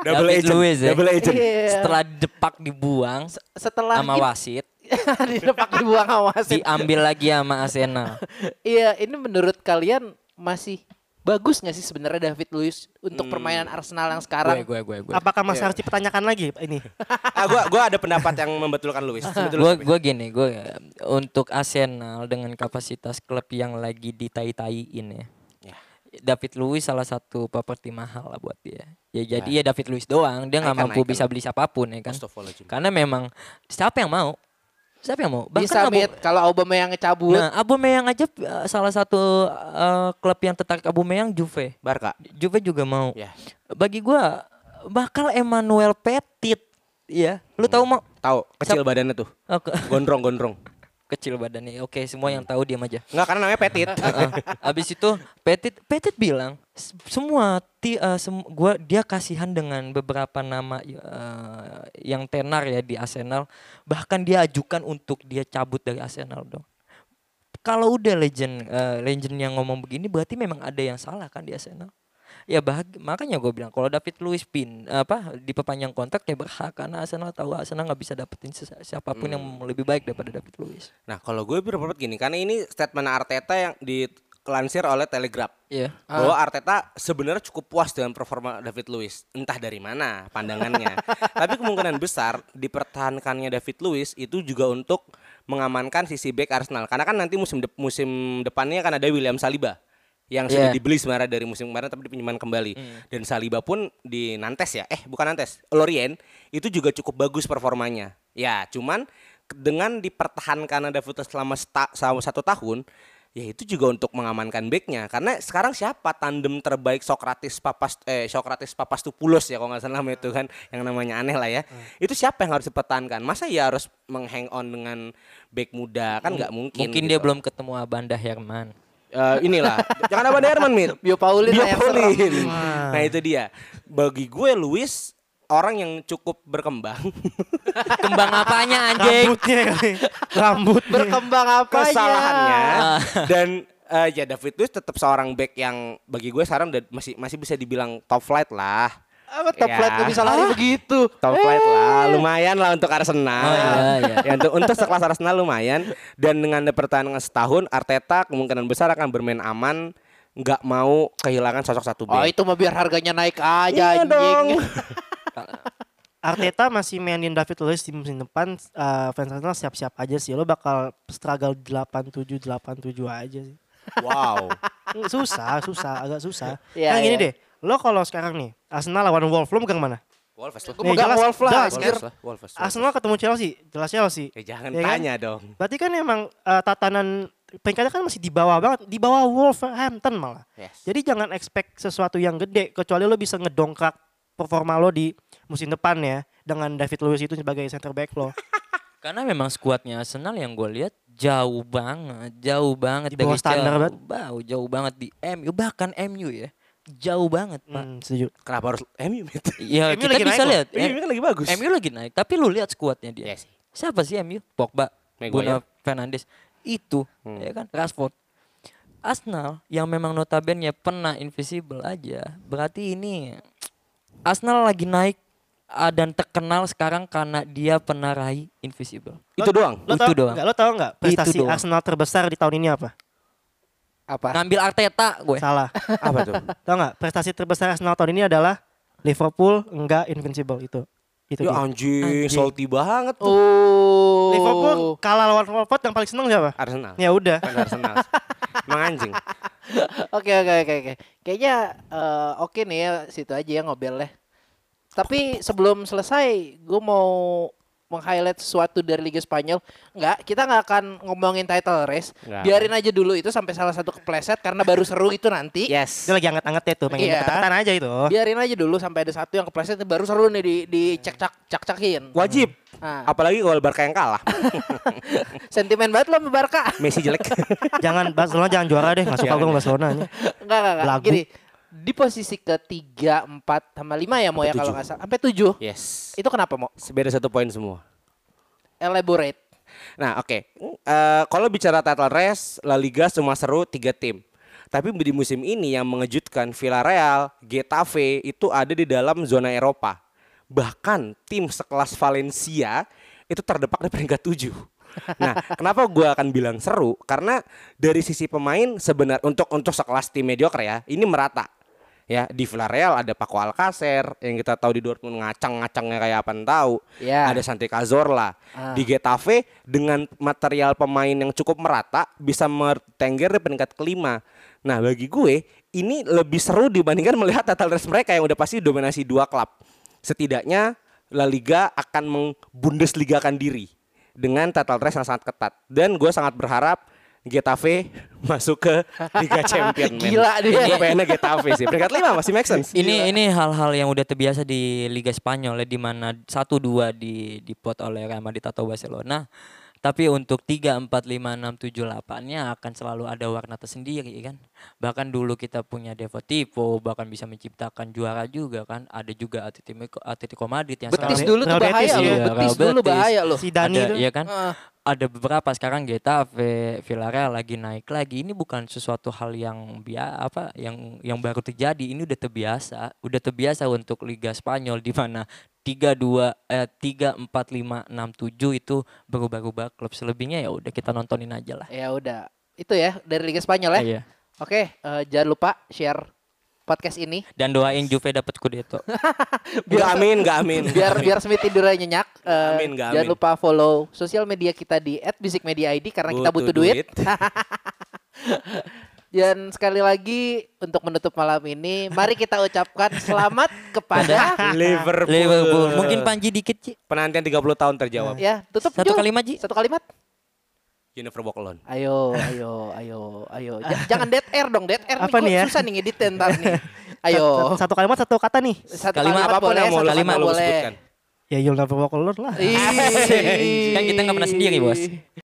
Speaker 6: double
Speaker 7: David
Speaker 6: agent,
Speaker 7: Luiz ya.
Speaker 6: double agent.
Speaker 5: Iya.
Speaker 7: Setelah depak dibuang
Speaker 5: Setelah
Speaker 7: sama wasit,
Speaker 5: di depak dibuang sama wasit.
Speaker 7: diambil lagi sama Arsenal.
Speaker 5: Iya, ini menurut kalian masih bagus nggak sih sebenarnya David Luiz untuk permainan Arsenal yang sekarang?
Speaker 7: gue gue gue gue.
Speaker 4: Apakah
Speaker 5: iya.
Speaker 4: Mas harus dipertanyakan lagi ini?
Speaker 6: Ah, gua gua ada pendapat yang membetulkan Luis.
Speaker 7: gue gue gini gue untuk Arsenal dengan kapasitas klub yang lagi ditai-taiin ya David Luiz salah satu properti mahal lah buat dia ya jadi ya David Luiz doang dia nggak
Speaker 6: Icon,
Speaker 7: mampu
Speaker 6: icon.
Speaker 7: bisa beli siapapun ya kan
Speaker 6: Astagfirullahaladzim.
Speaker 7: karena memang siapa yang mau siapa yang mau
Speaker 5: Bisa
Speaker 7: Abu-
Speaker 5: Mit, kalau Aubameyang ngecabut.
Speaker 7: nah Aubameyang aja eh, salah satu eh, klub yang tertarik Aubameyang Juve
Speaker 6: Barca.
Speaker 7: Juve juga mau
Speaker 6: Ya.
Speaker 7: bagi gua bakal Emmanuel Petit ya lu tahu mau
Speaker 6: Tahu, kecil badannya tuh.
Speaker 7: Oke.
Speaker 6: Gondrong-gondrong.
Speaker 7: kecil badannya. Oke, semua yang tahu diam aja.
Speaker 6: Enggak karena namanya Petit.
Speaker 7: Heeh. Abis itu Petit Petit bilang "S- semua ti eh, sem- gua dia kasihan dengan beberapa nama eh, yang tenar ya di Arsenal. Bahkan dia ajukan untuk dia cabut dari Arsenal dong. Kalau udah legend eh, legend yang ngomong begini berarti memang ada yang salah kan di Arsenal. Ya bahag- makanya gue bilang kalau David Luiz pin apa diperpanjang kontrak ya berhak karena Arsenal tahu Arsenal nggak bisa dapetin sesa- siapapun yang lebih baik daripada David Luiz.
Speaker 6: nah, kalau gue berpendapat gini, karena ini statement Arteta yang dilansir oleh Telegraph.
Speaker 7: Iya.
Speaker 6: bahwa Arteta sebenarnya cukup puas dengan performa David Luiz entah dari mana pandangannya tapi kemungkinan besar dipertahankannya David Luiz itu juga untuk mengamankan sisi back Arsenal karena kan nanti musim de- musim depannya kan ada William Saliba yang sudah
Speaker 7: Iya.
Speaker 6: dibeli sebenarnya dari musim kemarin tapi dipinjaman kembali dan Saliba pun di Nantes ya eh bukan Nantes Lorient itu juga cukup bagus performanya ya cuman ke- dengan dipertahankan David Luiz selama seta- selama satu tahun ya itu juga untuk mengamankan backnya karena sekarang siapa tandem terbaik Sokratis Papas eh Sokratis Papastopoulos ya kalau nggak salah namanya itu kan yang namanya aneh lah ya
Speaker 7: Hmm.
Speaker 6: itu siapa yang harus dipertahankan masa ya harus menghang on dengan back muda kan nggak mungkin
Speaker 7: Mungkin
Speaker 6: gitu.
Speaker 7: dia belum ketemu Abanda Herman.
Speaker 6: Eh, inilah jangan apa Herman Mir
Speaker 5: Bio Paulin
Speaker 7: ya,
Speaker 5: lah yang serem.
Speaker 6: Biopolin
Speaker 7: Hmm.
Speaker 6: nah itu dia bagi gue Luis orang yang cukup berkembang
Speaker 7: Kembang apanya anjing?
Speaker 4: Rambutnya kali. Rambut.
Speaker 5: Berkembang ya? apanya?
Speaker 6: kesalahannya
Speaker 7: Ah.
Speaker 6: dan eh, ya David Luiz tetap seorang back yang bagi gue sekarang udah- masih masih bisa dibilang top flight lah
Speaker 5: Apa top
Speaker 6: Ya.
Speaker 5: flight nggak bisa lari begitu?
Speaker 6: Top flight lah, lumayan lah untuk Arsenal.
Speaker 7: Oh, iya, iya.
Speaker 6: Ya, untuk, untuk sekelas Arsenal lumayan. Dan dengan pertahanan setahun, Arteta kemungkinan besar akan bermain aman, nggak mau kehilangan sosok satu
Speaker 5: Oh
Speaker 6: back.
Speaker 5: itu mah biar harganya naik aja
Speaker 6: Iya
Speaker 5: anjing.
Speaker 6: dong.
Speaker 4: Arteta masih mainin David Luiz di musim depan eh, fans Arsenal siap-siap aja sih. Lo bakal struggle 8-7 8-7 aja sih.
Speaker 6: Wow.
Speaker 4: Mm, Susah, susah, agak susah.
Speaker 5: Iya,
Speaker 4: Nah gini
Speaker 5: iya.
Speaker 4: deh, lo kalau sekarang nih Arsenal lawan Wolf, lo megang mana?
Speaker 6: Wolves lah. kan-
Speaker 5: Gue megang
Speaker 4: jelas-
Speaker 5: Wolf lah,
Speaker 4: jelas.
Speaker 5: anjir.
Speaker 6: lah, Wolves.
Speaker 4: Arsenal ketemu Chelsea, jelas Chelsea.
Speaker 6: Eh, jangan
Speaker 4: Ya kan?
Speaker 6: tanya dong.
Speaker 4: Berarti kan emang eh, tatanan peringkatnya kan masih di bawah banget, di bawah Wolverhampton malah.
Speaker 6: Yes.
Speaker 4: Jadi jangan expect sesuatu yang gede kecuali lo bisa ngedongkrak performa lo di musim depan ya dengan David Luiz itu sebagai center back lo.
Speaker 7: Karena memang skuadnya Arsenal yang gue lihat jauh banget, jauh banget
Speaker 4: Di bawah standar
Speaker 7: jauh,
Speaker 4: banget.
Speaker 7: bau, jauh banget di MU bahkan MU ya. Jauh banget, Pak.
Speaker 4: Hmm, setuju.
Speaker 6: Kenapa harus MU? Mit?
Speaker 7: Ya
Speaker 4: MU
Speaker 7: kita
Speaker 4: lagi
Speaker 7: bisa
Speaker 4: naik Iya. loh.
Speaker 7: lihat.
Speaker 6: MU kan lagi bagus.
Speaker 7: MU lagi naik, tapi lu lihat skuadnya dia.
Speaker 6: Iya sih.
Speaker 7: Siapa sih MU? Pogba, Bruno
Speaker 6: Maguire.
Speaker 7: Fernandes. Itu, ya kan? Rashford. Arsenal yang memang notabene pernah invisible aja. Berarti ini Arsenal lagi naik ah, dan terkenal sekarang karena dia pernah raih invisible.
Speaker 6: Itu doang.
Speaker 4: Lo
Speaker 7: Itu
Speaker 4: tau
Speaker 7: doang.
Speaker 4: nggak? Lo tau nggak
Speaker 7: Itu
Speaker 4: prestasi
Speaker 7: doang.
Speaker 4: Arsenal terbesar di tahun ini apa?
Speaker 5: Apa?
Speaker 7: Ngambil Arteta gue.
Speaker 4: Salah.
Speaker 6: Apa tuh?
Speaker 4: tau nggak? Prestasi terbesar Arsenal tahun ini adalah Liverpool enggak invincible itu. Itu
Speaker 6: Ya
Speaker 4: dia.
Speaker 6: anjing, salty banget tuh.
Speaker 5: Oh.
Speaker 4: Liverpool kalah lawan Watford yang paling seneng siapa?
Speaker 6: Oh. Arsenal.
Speaker 4: Ya udah.
Speaker 6: Fans Arsenal. Emang anjing.
Speaker 5: Oke oke oke oke. Kayaknya eh, oke nih ya situ aja ya ngobelnya. Tapi sebelum selesai, gue mau meng-highlight sesuatu dari Liga Spanyol. Enggak, kita nggak akan ngomongin title race.
Speaker 6: Nggak.
Speaker 5: Biarin aja dulu itu sampai salah satu kepleset karena baru seru itu nanti.
Speaker 6: Yes.
Speaker 4: Dia lagi anget-angetnya tuh, pengen
Speaker 5: Iya.
Speaker 4: deket-deketan aja itu.
Speaker 5: Biarin aja dulu sampai ada satu yang kepleset baru seru nih di
Speaker 6: Iya.
Speaker 5: dicak-cak cak-cakin.
Speaker 6: Wajib.
Speaker 5: Ah.
Speaker 6: Apalagi kalau Barca yang kalah.
Speaker 5: Sentimen banget lo sama Barca.
Speaker 6: Messi jelek.
Speaker 4: jangan Barcelona jangan juara deh, nggak suka gue sama Barcelona. ini.
Speaker 5: Enggak enggak enggak.
Speaker 4: Lagu.
Speaker 5: Gini, di posisi ketiga, empat, sama lima ya mau
Speaker 6: Sampai
Speaker 5: ya kalau
Speaker 6: tujuh.
Speaker 5: nggak salah. Sampai tujuh.
Speaker 6: yes.
Speaker 5: Itu kenapa mau?
Speaker 6: Beda satu poin semua.
Speaker 5: Elaborate.
Speaker 6: Nah, oke. Eh, kalau bicara title race, La Liga semua seru tiga tim. Tapi di musim ini yang mengejutkan Villarreal, Getafe itu ada di dalam zona Eropa. Bahkan tim sekelas Valencia itu terdepak di peringkat 7. Nah, kenapa gue akan bilang seru? Karena dari sisi pemain sebenar untuk untuk sekelas tim mediocre ya, ini merata ya di Villarreal ada Paco Alcacer yang kita tahu di Dortmund ngacang-ngacangnya kayak apa tahu
Speaker 5: Ya. Ah.
Speaker 6: ada Santi Cazorla di Getafe dengan material pemain yang cukup merata bisa mertengger di peringkat kelima nah bagi gue ini lebih seru dibandingkan melihat title race mereka yang udah pasti dominasi dua klub setidaknya La Liga akan mengbundesligakan diri dengan title race yang sangat ketat dan gue sangat berharap Getafe masuk ke Liga Champion men.
Speaker 5: Gila dia.
Speaker 6: Gue pengennya Getafe sih. Peringkat 5 masih make sense.
Speaker 7: Ini ini hal-hal yang udah terbiasa di Liga Spanyol ya, di mana satu dua di dipot oleh Real Madrid atau Barcelona. Tapi untuk 3, 4, 5, 6, 7, 8-nya akan selalu ada warna tersendiri kan. Bahkan dulu kita punya Devotipo, bahkan bisa menciptakan juara juga kan. Ada juga Atletico, Atletico Madrid yang
Speaker 5: Betis
Speaker 7: sekarang-
Speaker 5: dulu tuh
Speaker 4: Real Betis ya.
Speaker 5: bahaya loh.
Speaker 7: Iya,
Speaker 5: Betis Ah.
Speaker 7: Real
Speaker 5: dulu
Speaker 7: Betis.
Speaker 5: bahaya loh.
Speaker 4: Si Dani
Speaker 7: ada,
Speaker 4: itu.
Speaker 7: ya kan?
Speaker 5: Heeh.
Speaker 7: Ada beberapa sekarang Getafe, Villarreal lagi naik lagi. Ini bukan sesuatu hal yang bia apa yang yang baru terjadi. Ini udah terbiasa, udah terbiasa untuk Liga Spanyol di mana 3 2 eh 3 4 5 6 7 itu berubah-ubah klub. Selebihnya ya udah kita nontonin aja lah.
Speaker 5: Ya udah. Itu ya dari Liga Spanyol ya.
Speaker 7: Iya.
Speaker 5: Oke, eh, jangan lupa share podcast ini
Speaker 7: Dan doain Juve dapat Scudetto.
Speaker 6: Gak amin, gak amin.
Speaker 5: biar biar Smith tidurnya nyenyak. Eh,
Speaker 6: Amin, nggak
Speaker 5: Jangan
Speaker 6: amin.
Speaker 5: lupa follow sosial media kita di @bisikmediaid karena kita butuh duit. Dan sekali lagi untuk menutup malam ini, mari kita ucapkan selamat kepada
Speaker 6: Liverpool.
Speaker 7: Liverpool. Mungkin Panji dikit, Ci.
Speaker 6: penantian 30 tahun terjawab.
Speaker 5: ya, tutup
Speaker 7: Satu
Speaker 5: Jul.
Speaker 7: kalimat, Ji.
Speaker 5: Satu kalimat.
Speaker 6: You never walk alone.
Speaker 5: Ayo, ayo, ayo, ayo. Ja- jangan dead air dong, dead air.
Speaker 4: Apa
Speaker 5: nih,
Speaker 4: nih
Speaker 5: gua
Speaker 4: ya?
Speaker 5: susah nih ngedit ntar nih. Ayo.
Speaker 4: Satu- Satu kalimat satu kata nih.
Speaker 5: Satu
Speaker 7: kalimat apapun
Speaker 5: boleh,
Speaker 6: yang
Speaker 5: satu
Speaker 6: mau lu-
Speaker 5: kata
Speaker 6: kalimat lu
Speaker 5: boleh.
Speaker 6: sebutkan.
Speaker 5: Iya.
Speaker 4: Ya you'll never walk alone lah.
Speaker 5: Ih.
Speaker 7: Kan kita nggak pernah sendiri, Bos.